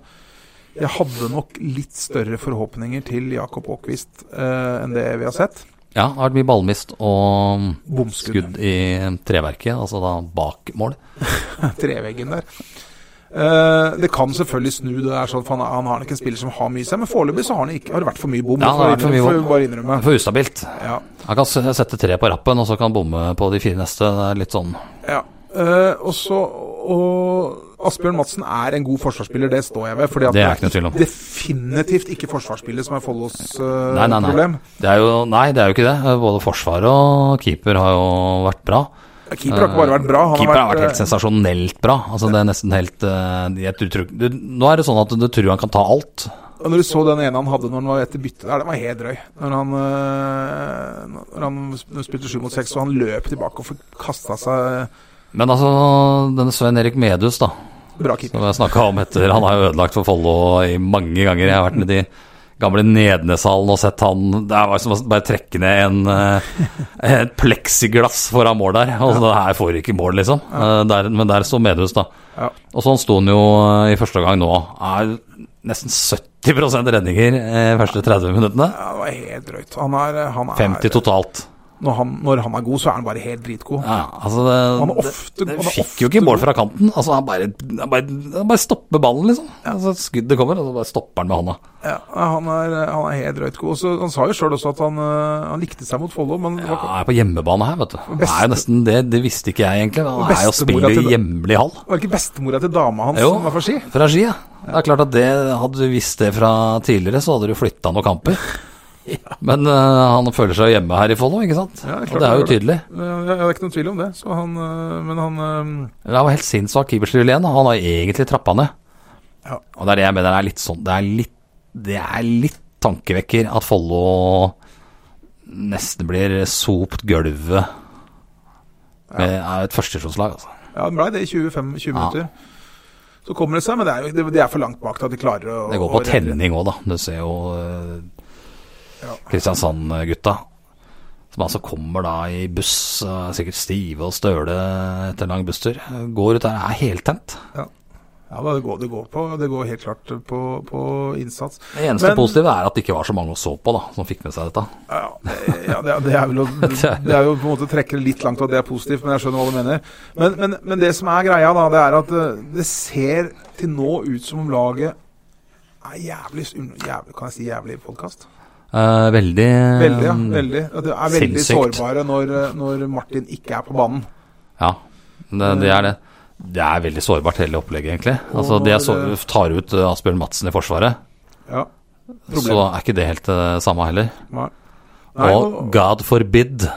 Speaker 3: jeg hadde nok litt større forhåpninger til Jakob Aakvist eh, enn det vi har sett.
Speaker 2: Ja, det har vært mye ballmist og
Speaker 3: Bomskudd.
Speaker 2: skudd i treverket, altså da bak mål.
Speaker 3: Treveggen der. Eh, det kan selvfølgelig snu. det er sånn, for han, han har nok en spiller som har mye i seg, men foreløpig så har han ikke, har det vært for mye bom.
Speaker 2: Ja, det har vært for mye bom.
Speaker 3: Får bare innrømme.
Speaker 2: For ustabilt.
Speaker 3: Ja.
Speaker 2: Han kan s- sette tre på rappen, og så kan han bomme på de fire neste. Det er litt sånn
Speaker 3: Ja. eh, og så og Asbjørn Madsen er en god forsvarsspiller, det står jeg ved. Fordi at
Speaker 2: Det er ikke noe tvil om.
Speaker 3: definitivt ikke forsvarsspillet som er Follos eh,
Speaker 2: Nei, nei, nei.
Speaker 3: problem.
Speaker 2: Det er jo, nei, det er jo ikke det. Både forsvar og keeper har jo vært bra.
Speaker 3: Keeper har ikke bare vært bra, han
Speaker 2: Keeper har
Speaker 3: vært, eh,
Speaker 2: vært helt sensasjonelt bra. Altså, det er nesten helt eh, jeg tror, tror- du, Nå er det sånn at du tror han kan ta alt.
Speaker 3: Og når du så den ene han hadde når han var etter byttet der, den var helt drøy. Når han, eh, når han sp- spilte sju mot seks, og han løp tilbake og kasta seg
Speaker 2: Men altså, denne Svein Erik Medhus, da,
Speaker 3: bra keeper.
Speaker 2: som jeg snakka om etter Han har jo ødelagt for Follo i mange ganger. Jeg har vært nede i gamle Nedneshallen og sett han Det var som å bare trekke ned en, eh, et pleksiglass foran mål der. Og så, det her får ikke mål, liksom. Eh, Der, men der sto Medhus, da.
Speaker 3: Ja.
Speaker 2: Og sånn sto han jo eh, i første gang nå. Er nesten 70 redninger eh, de første 30 minuttene.
Speaker 3: Ja, det var helt drøyt. Han er, han er
Speaker 2: 50 totalt.
Speaker 3: når, han, når han er god, så er han bare helt dritgod.
Speaker 2: Ja, altså det,
Speaker 3: Han er
Speaker 2: det,
Speaker 3: ofte-
Speaker 2: det
Speaker 3: han er ofte
Speaker 2: fikk jo ikke mål fra kanten. Altså han bare, han bare, han bare stopper ballen, liksom. Altså, skuddet kommer, og så bare stopper han med hånda.
Speaker 3: Ja, han, er, han er helt drøyt god. Og Så, han sa jo sjøl også at han, eh, han likte seg mot Follo, men det
Speaker 2: Ja,
Speaker 3: var,
Speaker 2: jeg er på hjemmebane her, vet du. Det er jo nesten det, det visste ikke jeg egentlig. Han er jo
Speaker 3: bestemora
Speaker 2: spiller
Speaker 3: til-
Speaker 2: i hjemlig hall.
Speaker 3: var det ikke bestemora til dama hans
Speaker 2: Jo,
Speaker 3: som var fra Ski?
Speaker 2: fra Ski, ja. Det er klart at det, hadde du visst det fra tidligere, så hadde du flytta noen kamper. Men eh, han føler seg hjemme her i Follo, ikke sant?
Speaker 3: Ja, det er klart
Speaker 2: og det er jo
Speaker 3: han gjør det.
Speaker 2: tydelig.
Speaker 3: Ja, ja, det er ikke noen tvil om det. Så han, eh, men han eh,
Speaker 2: Det var helt sinnssvakt keeperstyre igjen. da. Han har egentlig trappa ned.
Speaker 3: Ja.
Speaker 2: Og det er det jeg mener er litt sånn Det er litt, det er litt tankevekker at Follo nesten blir sopt gulvet med er et førstesjonslag, altså.
Speaker 3: Ja, den blei det i 25 20
Speaker 2: Ja.
Speaker 3: minutter. Så kommer det seg, men det er, jo, det, det er for langt bak til at de klarer å
Speaker 2: Det går
Speaker 3: å
Speaker 2: på
Speaker 3: redde.
Speaker 2: tenning òg, da. Du ser jo eh, Kristiansand-gutta. Som altså kommer da i buss, eh, sikkert stive og støle etter en lang busstur. Går ut der, er heltent.
Speaker 3: Ja, da, det, går, det, går på, det går helt klart på, på innsats.
Speaker 2: Det eneste
Speaker 3: Men-
Speaker 2: positive er at det ikke var så mange å så på da, som fikk med seg dette.
Speaker 3: Ja, det- ja det, det, er vel å, det er jo på en måte å trekke det litt langt at det er positivt, men jeg skjønner hva du mener. Men, men, men det som er greia, da, det er at eh, det ser til nå ut som om laget er jævlig, un- jævlig Kan jeg si jævlig podkast?
Speaker 2: Eh, veldig
Speaker 3: Veldig, ja.
Speaker 2: Mm.
Speaker 3: Veldig. At de er veldig
Speaker 2: Sinnssykt.
Speaker 3: sårbare når, eh, når Martin ikke er på banen.
Speaker 2: Ja, det, det er det. Det er veldig sårbart hele opplegget, egentlig. Altså, de er så, tar ut eh, Asbjørn Madsen i Forsvaret,
Speaker 3: Ja.
Speaker 2: så er ikke det helt det samme heller.
Speaker 3: Nei. Nei,
Speaker 2: Og God forbid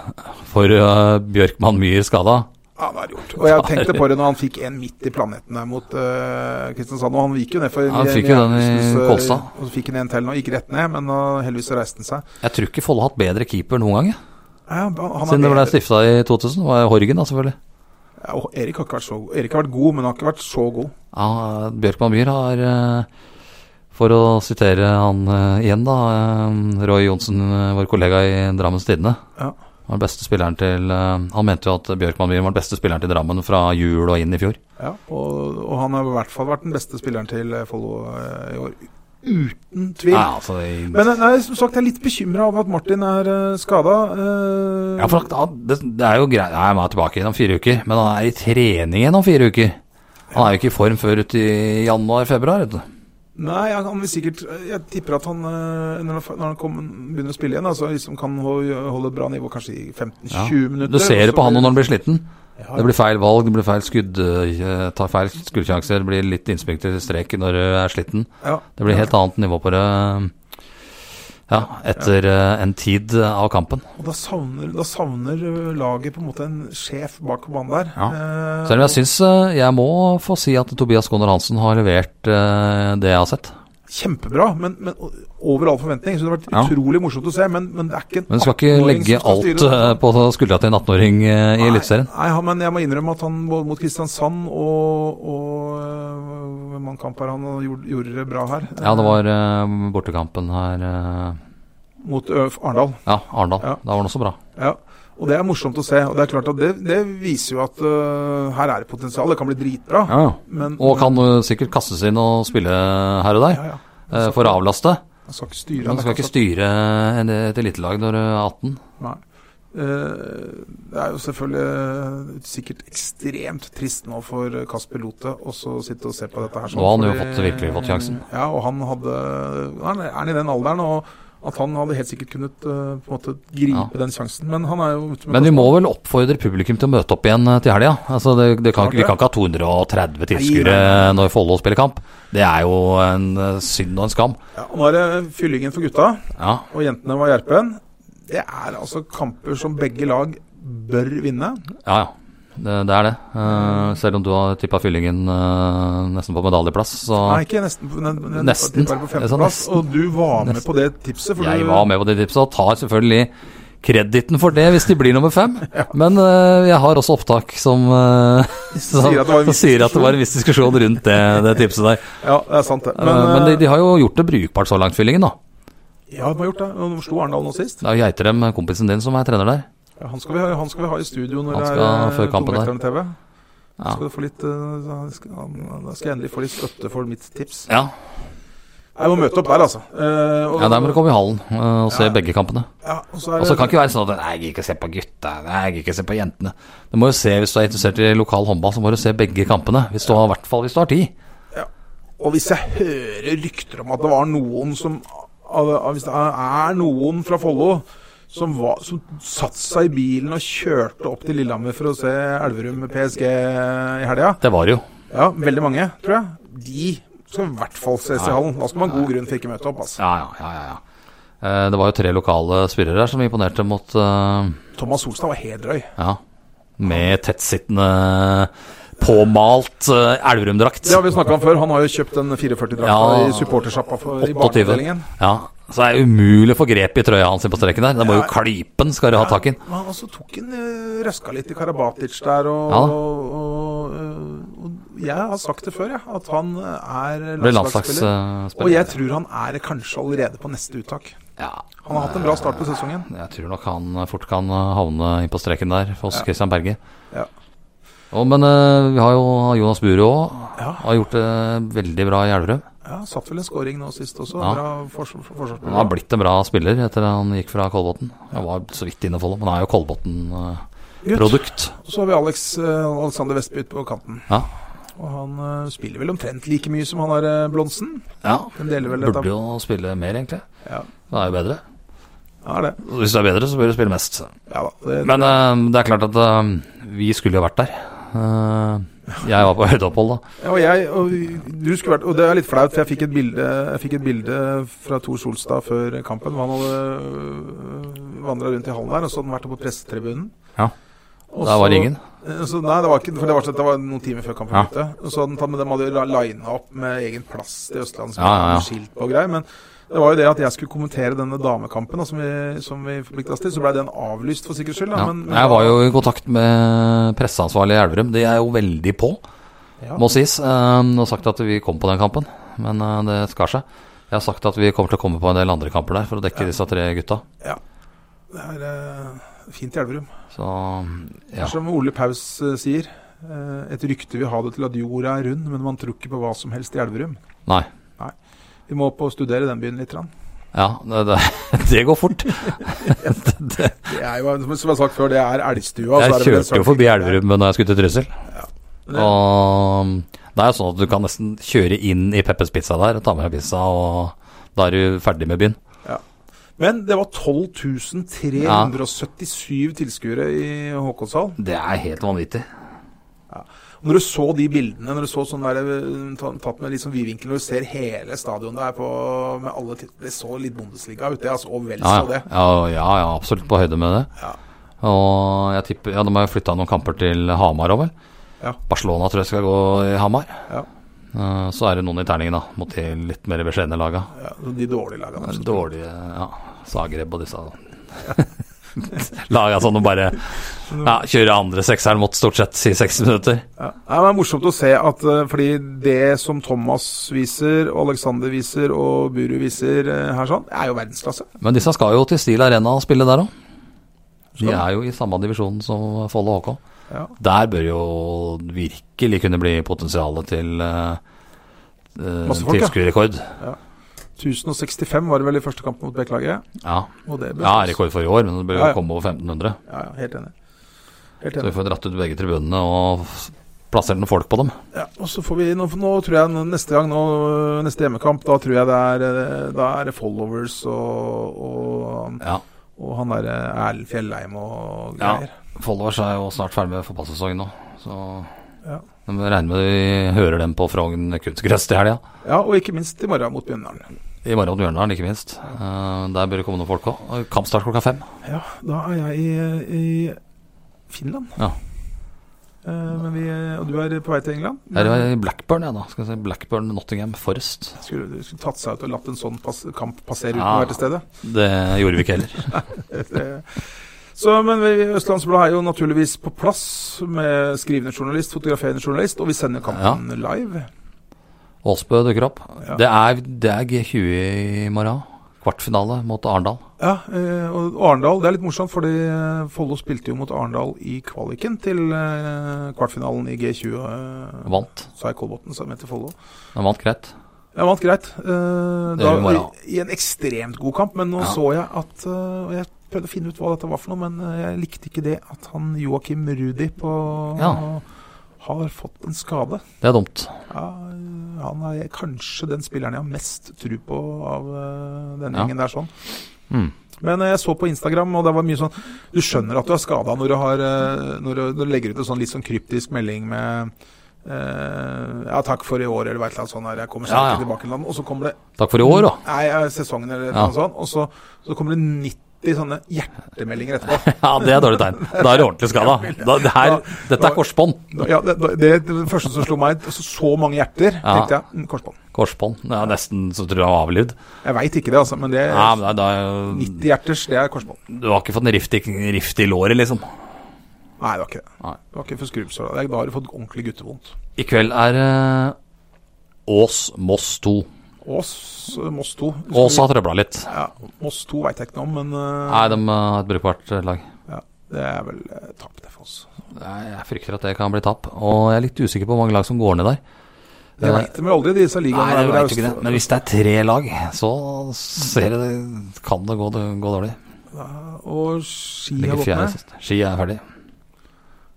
Speaker 2: for eh, Bjørkman Myhr skada.
Speaker 3: Ja, det er gjort. Og jeg tenkte på det når han fikk en midt i planeten der mot eh, Kristiansand. Og han gikk jo ned for
Speaker 2: han fikk jo den i
Speaker 3: Jernhusens, eh,
Speaker 2: Kolstad.
Speaker 3: Og så fikk han en til nå. Gikk rett ned, men eh, heldigvis så reiste han seg.
Speaker 2: Jeg tror ikke Folle har hatt bedre keeper noen gang, jeg.
Speaker 3: Ja, han- han er
Speaker 2: siden det ble
Speaker 3: bedre.
Speaker 2: stifta i 2000. Det var jo Horgen, da, selvfølgelig.
Speaker 3: Ja, og Erik har ikke vært så god. Erik har vært god, men han har ikke vært så god.
Speaker 2: Ja, Bjørkman Myhr har eh, for å sitere han eh, igjen, da. eh, Roy Johnsen, eh, vår kollega i Drammens Tidende.
Speaker 3: Ja.
Speaker 2: Han, var den beste spilleren til, eh, han mente jo at Bjørkman Myhr var den beste spilleren til Drammen fra jul og inn i fjor.
Speaker 3: Ja, og, og han har i hvert fall vært den beste spilleren til eh, Follo eh, i år. Uten tvil.
Speaker 2: Ja, altså, i-
Speaker 3: Men eh, nei, som sagt, jeg er litt bekymra over at Martin er eh, uh, skada.
Speaker 2: ja, for at- han- det, det er jo greit Nei, Han er tilbake igjen om fire uker, men han er i trening igjen om fire uker. Han er jo ikke i form før uti januar-februar. vet du.
Speaker 3: Nei, han han vil sikkert Jeg tipper at han, eh, når han, når han kommer, begynner å spille igjen, da, så liksom kan han holde bra nivå kanskje i 15-20
Speaker 2: Ja.
Speaker 3: minutter.
Speaker 2: Du ser det
Speaker 3: og så
Speaker 2: på han
Speaker 3: blir-
Speaker 2: når han blir sliten.
Speaker 3: Ja,
Speaker 2: Det blir feil valg, det blir feil skudd, eh, tar feil skuddsjanser, det blir litt innspikk til strek når du er sliten.
Speaker 3: ja.
Speaker 2: Det blir helt annet nivå på det ja, etter eh, en tid av kampen.
Speaker 3: Og da savner, da savner eh, laget på en måte en sjef bak på banen der. Eh,
Speaker 2: Selv om jeg syns eh, jeg må få si at Tobias Gunnar Hansen har levert eh, det jeg har sett.
Speaker 3: Kjempebra, men, men o- over all forventning. Så det har vært
Speaker 2: Ja.
Speaker 3: utrolig morsomt å se, men, men det er ikke en
Speaker 2: Men du skal ikke
Speaker 3: 18-åring
Speaker 2: legge
Speaker 3: som skal
Speaker 2: alt
Speaker 3: styre det.
Speaker 2: eh, på skuldra til en 18-åring eh, i
Speaker 3: Nei,
Speaker 2: Eliteserien.
Speaker 3: Nei, han- men jeg må innrømme at han både mot Kristiansand og, og eh, hvem han kamper han og gjorde, gjorde det bra her.
Speaker 2: Ja, det var eh, bortekampen her eh,
Speaker 3: Mot Ø, Arendal.
Speaker 2: Ja, Arendal.
Speaker 3: Ja.
Speaker 2: Da var den også bra.
Speaker 3: Ja, og det er morsomt å se. Og det er klart at det, det viser jo at øh, her er det potensial. Det kan bli dritbra. Men,
Speaker 2: Og kan eh, sikkert kastes inn og spille her og der
Speaker 3: ja, ja.
Speaker 2: eh, for å avlaste.
Speaker 3: Man skal ikke styre.
Speaker 2: Men du skal ikke styre eh, en- et elitelag når du er 18.
Speaker 3: Nei. Eh, det er jo selvfølgelig eh, sikkert ekstremt trist nå for Kasper Lote å så sitte og se på dette her. sånn,
Speaker 2: Nå har han jo
Speaker 3: fordi-
Speaker 2: fått- virkelig fått sjansen.
Speaker 3: Ja, og han hadde Han er i den alderen, og At han hadde helt sikkert kunnet eh, på en måte gripe den sjansen. Men han er jo ute
Speaker 2: Men vi må vel oppfordre publikum til å møte opp igjen eh, til helga. Altså, det, det kan, ikke- vi kan ikke ha 230 tilskuere
Speaker 3: Nei,
Speaker 2: når Follo spiller kamp. Det er jo en eh, synd og en skam.
Speaker 3: ja, og Nå er det fyllingen for gutta,
Speaker 2: Ja.
Speaker 3: og jentene var Gjerpen. Det er altså kamper som begge lag bør vinne.
Speaker 2: Ja, ja. Det, det er det. Eh, selv om du har tippa fyllingen eh, nesten på medaljeplass, så
Speaker 3: Nei, ikke nesten. på- Den, den,
Speaker 2: Nesten.
Speaker 3: bare på
Speaker 2: Jeg sa
Speaker 3: femteplass.
Speaker 2: nesten.
Speaker 3: Og du var med på det tipset. For
Speaker 2: jeg
Speaker 3: du,
Speaker 2: var med på det tipset og tar selvfølgelig kreditten for det hvis de blir nummer fem. Men eh, jeg har også opptak som, eh, som,
Speaker 3: Sier at det var en
Speaker 2: som
Speaker 3: viss
Speaker 2: sier at det var en viss diskusjon rundt det, det tipset der.
Speaker 3: Ja, det er sant, det.
Speaker 2: Eh, Men, de, de har jo gjort det brukbart så langt, fyllingen. da.
Speaker 3: Ja, de har gjort det. Og Hvor slo Arendal nå
Speaker 2: Det
Speaker 3: sist?
Speaker 2: er jo Geitrem, kompisen din, som er trener der.
Speaker 3: Ja, han, skal vi, ha- han skal vi ha i studio når
Speaker 2: Han
Speaker 3: det
Speaker 2: skal ha
Speaker 3: er
Speaker 2: før
Speaker 3: eh,
Speaker 2: kampen der.
Speaker 3: Tungvekterne TV.
Speaker 2: Ja.
Speaker 3: Skal du få litt, eh, da skal, han- da skal jeg endelig få litt støtte for mitt tips.
Speaker 2: Ja,
Speaker 3: Jeg må møte opp der, altså. Eh, og,
Speaker 2: ja der må du komme i hallen eh, og se
Speaker 3: Ja.
Speaker 2: begge kampene.
Speaker 3: Ja, og så er
Speaker 2: Og så
Speaker 3: det,
Speaker 2: kan det ikke være sånn at Nei, jeg gidder ikke se på gutta, nei, jeg gidder ikke se på jentene. Du må jo se, Hvis du er interessert i lokal håndball, så må du se begge kampene. Hvis du har, I hvert fall hvis du har tid.
Speaker 3: og hvis jeg hører rykter om at det var noen som av- av- Hvis det er er noen fra Follo som, var- som satte seg i bilen og kjørte opp til Lillehammer for å se Elverum med PSG i helga
Speaker 2: Det var det jo.
Speaker 3: Ja, veldig mange, tror jeg. De skal i hvert fall ses i hallen. Da skal man ha god grunn for ikke å møte opp, altså.
Speaker 2: Ja, ja, ja, ja, ja. Eh, Det var jo tre lokale spillere her som imponerte mot eh,
Speaker 3: Thomas Solstad var helt drøy.
Speaker 2: Ja, med tettsittende, påmalt eh, Elverum-drakt.
Speaker 3: Det har vi snakka om før. Han har jo kjøpt den 44-drakta
Speaker 2: Ja.
Speaker 3: i supportersjappa for- i
Speaker 2: 28.
Speaker 3: barneavdelingen.
Speaker 2: Ja, så det er umulig å få grep i trøya hans på streken der. Det må jo klypen skal du ha tak i. den.
Speaker 3: Men han også tok en eh, røska litt i Karabatic der, og,
Speaker 2: Ja da.
Speaker 3: og, og, eh, og Jeg har sagt det før, jeg, at han eh, er
Speaker 2: Blir
Speaker 3: landslagsspiller. Og
Speaker 2: landslagsspiller.
Speaker 3: jeg tror han er kanskje allerede på neste uttak.
Speaker 2: Ja,
Speaker 3: Han har hatt en bra start på sesongen.
Speaker 2: jeg tror nok han eh, fort kan eh, havne inn på streken der for oss Christian Berge.
Speaker 3: Ja.
Speaker 2: Å, men eh, vi har jo Jonas Buru òg.
Speaker 3: Ja.
Speaker 2: Har gjort det veldig bra i Elverum.
Speaker 3: ja Satt vel en scoring nå sist også.
Speaker 2: Ja.
Speaker 3: Bra forsvar- forsvarsspiller.
Speaker 2: Han har blitt en bra spiller etter han gikk fra Kolbotn. Han var så vidt inne for det, men han er jo Kolbotn-produkt.
Speaker 3: Gutt. Og så har vi Alex, eh, Alexander Vestby ute på kanten.
Speaker 2: Ja.
Speaker 3: Og han eh, spiller vel omtrent like mye som han der eh, Blonsen.
Speaker 2: ja.
Speaker 3: De deler vel
Speaker 2: Burde
Speaker 3: dette.
Speaker 2: jo spille mer, egentlig.
Speaker 3: Ja.
Speaker 2: Det er jo bedre.
Speaker 3: Ja, det.
Speaker 2: Hvis det er bedre, så bør du spille mest.
Speaker 3: Ja da. Det,
Speaker 2: Men eh, det er klart at eh, vi skulle jo vært der. Eh, jeg var på høydeopphold, da.
Speaker 3: Ja, og jeg, og du skulle vært, og det er litt flaut, for jeg fikk et bilde, jeg fikk et bilde fra Tor Solstad før kampen. hvor Han hadde vandra rundt i hallen der, og så hadde han vært oppe på pressetribunen.
Speaker 2: Ja.
Speaker 3: Og
Speaker 2: Der var
Speaker 3: så-
Speaker 2: ingen.
Speaker 3: Eh, Så, nei, det var ikke, for det var, sånn at det var noen timer før kampen
Speaker 2: Ja.
Speaker 3: begynte. Og så hadde han tatt med dem, hadde jo lina opp med egen plass til Østlandet, som
Speaker 2: Ja, ja, ja.
Speaker 3: skilt på og greier. Men det var jo det at jeg skulle kommentere denne damekampen da, som vi, som vi forplikta oss til, så blei den avlyst for sikkerhets skyld. Da,
Speaker 2: Ja.
Speaker 3: men, men,
Speaker 2: Jeg var jo i kontakt med presseansvarlig i Elverum. De er jo veldig på,
Speaker 3: Ja.
Speaker 2: må sies. eh, Og sagt at vi kom på den kampen, men eh, det skar seg. Jeg har sagt at vi kommer til å komme på en del andre kamper der for å dekke disse tre gutta.
Speaker 3: Det er eh, fint i Elverum.
Speaker 2: Så ja.
Speaker 3: Som Ole Paus eh, sier, eh, et rykte vil ha det til at jorda er rund, men man tror ikke på hva som helst i Elverum.
Speaker 2: Nei.
Speaker 3: Vi må opp og studere den byen litt. grann.
Speaker 2: Ja, det, det, det går fort. det, det.
Speaker 3: Det er jo, som jeg har sagt før, det er elgstua.
Speaker 2: Jeg
Speaker 3: så er det vel en
Speaker 2: kjørte jo
Speaker 3: sak-
Speaker 2: forbi Elverum når jeg skulle til Trysil.
Speaker 3: Det-
Speaker 2: Og det er jo sånn at du kan nesten kjøre inn i Peppers Pizza der, ta med deg pizza, og da er du ferdig med byen.
Speaker 3: Men det var 12.377 tilskuere i Håkonshall.
Speaker 2: Det er helt vanvittig.
Speaker 3: Når du så de bildene, når du så sånn der, eh, ta- tatt med litt sånn vidvinkel, når du ser hele stadionet der på, med alle tit- Det så litt Bundesliga ut, det. altså, Og vel
Speaker 2: Ja, ja,
Speaker 3: så det.
Speaker 2: ja, ja, ja absolutt på høyde med det.
Speaker 3: Ja.
Speaker 2: Og jeg tipper Ja, de har jo flytta noen kamper til Hamar òg, vel.
Speaker 3: Ja.
Speaker 2: Barcelona tror jeg skal gå i Hamar.
Speaker 3: Ja.
Speaker 2: Eh, Så er det noen i terningen, da, mot de litt mer beskjedne laga.
Speaker 3: Ja, de dårlige lagene.
Speaker 2: Den Dårlige ja, Zagreb og disse laga sånn og bare ja, kjører andre sekseren mot stort sett i 60 minutter.
Speaker 3: Ja. Nei, men Det er morsomt å se at eh, fordi det som Thomas viser, og Alexander viser og Buru viser eh, her sånn, er jo verdensklasse.
Speaker 2: Men disse skal jo til Steel Arena og spille der òg. De
Speaker 3: Skal de?
Speaker 2: er jo i samme divisjon som Follo HK.
Speaker 3: Ja.
Speaker 2: Der bør jo virkelig kunne bli potensialet til uh,
Speaker 3: Masse folk, ja.
Speaker 2: tilskuerrekord.
Speaker 3: 1065 var det vel i første kamp mot Bekkelaget.
Speaker 2: Ja.
Speaker 3: Og det ble
Speaker 2: ja, rekord for i år, men det bør jo
Speaker 3: Ja, ja.
Speaker 2: komme over 1500.
Speaker 3: Ja, ja, helt enig. Helt
Speaker 2: Så vi
Speaker 3: enig.
Speaker 2: får dratt ut begge tribunene og plassert noen folk på dem.
Speaker 3: Ja, og så får vi, nå, nå tror jeg nå- neste gang, nå, neste hjemmekamp, da tror jeg det er, eh, da er det followers og, og,
Speaker 2: Ja.
Speaker 3: og han derre Erlend Fjellheim og
Speaker 2: Ja.
Speaker 3: greier.
Speaker 2: Followers er jo snart ferdig med fotballsesongen nå, så
Speaker 3: Ja.
Speaker 2: de regner med vi hører dem på Frogn kunstgress til helga.
Speaker 3: Ja. og ikke minst i morgen mot Bjørndalen.
Speaker 2: I morgen mot Bjørndalen, ikke minst. Eh, der bør det komme noen folk òg. Kampstart klokka fem.
Speaker 3: Ja, da er jeg i, i Finland.
Speaker 2: Ja.
Speaker 3: Eh, men vi, og du er på vei til England?
Speaker 2: Her er jeg i eh, Blackburn, ja da. Skal jeg si Blackburn, Nottingham, Forest.
Speaker 3: Skulle, du skulle tatt seg ut og latt en sånn pass, kamp passere uten
Speaker 2: Ja.
Speaker 3: å være til stede?
Speaker 2: Det gjorde vi ikke heller.
Speaker 3: Det- eh. Så, men vi, Østlandsbladet er jo naturligvis på plass med skrivende journalist, fotograferende journalist, og vi sender kampen live.
Speaker 2: Aasbø dukker opp.
Speaker 3: Ja.
Speaker 2: Det, er, det er G20 i morgen. Kvartfinale mot Arendal.
Speaker 3: Ja, eh, og Arendal, det er litt morsomt, fordi eh, Follo spilte jo mot Arendal i kvaliken til eh, kvartfinalen i G20. eh,
Speaker 2: Vant.
Speaker 3: Sa jeg Kolbotn, sa jeg mente Follo.
Speaker 2: De vant greit.
Speaker 3: Jeg vant greit. eh,
Speaker 2: Det
Speaker 3: da,
Speaker 2: gjør vi bare,
Speaker 3: i, I en ekstremt god kamp, men nå
Speaker 2: Ja.
Speaker 3: så jeg at eh, og Jeg prøvde å finne ut hva dette var for noe, men eh, jeg likte ikke det at han Joakim Rudi på
Speaker 2: Ja.
Speaker 3: har fått en skade.
Speaker 2: Det er dumt.
Speaker 3: Ja, øh, han er kanskje den spilleren jeg har mest tro på av øh, den
Speaker 2: Ja.
Speaker 3: gjengen der. sånn
Speaker 2: Mm.
Speaker 3: Men øh, jeg så på Instagram, og det var mye sånn Du skjønner at du er skada når, du har, øh, når, du- når du legger ut en sånn litt sånn kryptisk melding med øh, ja, takk for i år, eller hva et eller annet sånt. her, Jeg kommer snart
Speaker 2: Ja, ja.
Speaker 3: ikke tilbake. Eller noe, og så kommer det
Speaker 2: Takk for i år, da.
Speaker 3: Nei, øh, sesongen eller noe
Speaker 2: Ja.
Speaker 3: sånt. Og så, så kommer det 90 sånne hjertemeldinger etterpå.
Speaker 2: Ja, det er dårlig tegn. Da er du ordentlig skada. Da- det her- Dette er korsbånd.
Speaker 3: Ja, det, det, det første som slo meg, så, så mange hjerter,
Speaker 2: Ja.
Speaker 3: tenkte jeg. mm, Korsbånd.
Speaker 2: Korsbånd. Det er nesten så tror jeg han var avlivd.
Speaker 3: Jeg veit ikke det, altså, men det
Speaker 2: Ja, men da, da,
Speaker 3: 90 hjerters, det er korsbånd.
Speaker 2: du har ikke fått en rift i, rift i låret, liksom.
Speaker 3: Nei, det var ikke det.
Speaker 2: Nei.
Speaker 3: Det var ikke for skrubbsår. Da har du fått ordentlig guttevondt.
Speaker 2: I kveld er eh, Ås Moss 2.
Speaker 3: Ås, eh, Moss 2.
Speaker 2: Ås har trøbla litt.
Speaker 3: Ja, Moss 2 veit jeg ikke noe om, men eh,
Speaker 2: Nei, de eh, har et brukbart lag.
Speaker 3: ja, det er vel eh, tap det for oss.
Speaker 2: Nei, Jeg frykter at det kan bli tap. Og jeg er litt usikker på hvor mange lag som går ned der.
Speaker 3: Jeg
Speaker 2: Eh,
Speaker 3: veit dem aldri, disse
Speaker 2: Nei,
Speaker 3: ligaene.
Speaker 2: jeg
Speaker 3: der
Speaker 2: vet
Speaker 3: hvor
Speaker 2: ikke det.
Speaker 3: Øst-
Speaker 2: Men hvis det er tre lag, så ser jeg det, kan det gå, gå dårlig.
Speaker 3: Ja, Og Ski har
Speaker 2: Ligger
Speaker 3: gått
Speaker 2: fjerde
Speaker 3: ned.
Speaker 2: sist. Ski er ferdig.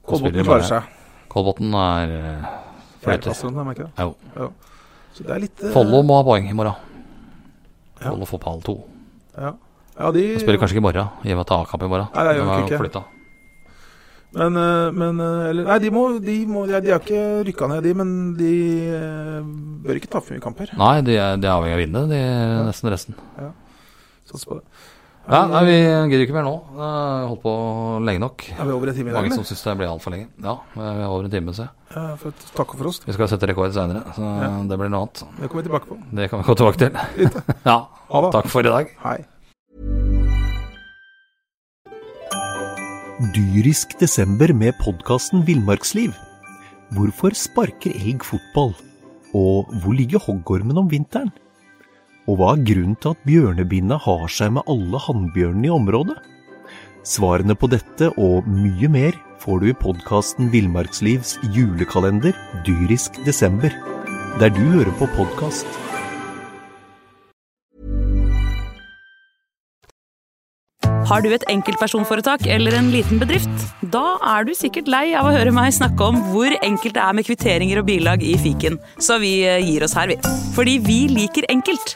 Speaker 3: Kolbotn klarer seg.
Speaker 2: Kolbotn er eh, fløyter.
Speaker 3: Fjerdeplasseren, er de ikke det?
Speaker 2: Jo.
Speaker 3: Så det er litt eh,
Speaker 2: Follo må ha poeng i morgen.
Speaker 3: Ja.
Speaker 2: Follo får pall to.
Speaker 3: Ja, ja de,
Speaker 2: De spiller kanskje ikke i morgen, i og med at det er A-kamp i morgen.
Speaker 3: Nei, det gjør
Speaker 2: De
Speaker 3: nok
Speaker 2: er
Speaker 3: ikke.
Speaker 2: flyttet.
Speaker 3: Men, eh, men eh, eller, Nei, de må, de må ja, De har ikke rykka ned, de, men de eh, bør ikke tape for mye kamper.
Speaker 2: Nei, de er, de er avhengig av å vinne, de nesten resten.
Speaker 3: Satser på det.
Speaker 2: Ja, nei, Vi gidder ikke mer nå. Eh, Holdt på lenge nok.
Speaker 3: Er vi over en time i dag,
Speaker 2: Mange
Speaker 3: eller?
Speaker 2: som syns det ble altfor lenge. Ja, vi er over en time, ser jeg.
Speaker 3: Ja, for at- Takk for oss.
Speaker 2: Vi skal sette rekord seinere, så det blir noe annet.
Speaker 3: Det kommer vi tilbake på.
Speaker 2: Det kan vi gå tilbake til. ja,
Speaker 3: Ha det.
Speaker 2: takk for i dag.
Speaker 3: Hei.
Speaker 4: dyrisk desember med podkasten Villmarksliv. Hvorfor sparker elg fotball? Og hvor ligger hoggormen om vinteren? Og hva er grunnen til at bjørnebinna har seg med alle hannbjørnene i området? Svarene på dette og mye mer får du i podkasten Villmarkslivs julekalender dyrisk desember, der du hører på podkast.
Speaker 5: Har du et enkeltpersonforetak eller en liten bedrift? Da er du sikkert lei av å høre meg snakke om hvor enkelt det er med kvitteringer og bilag i fiken, så vi eh, gir oss her, vi. Fordi vi liker enkelt.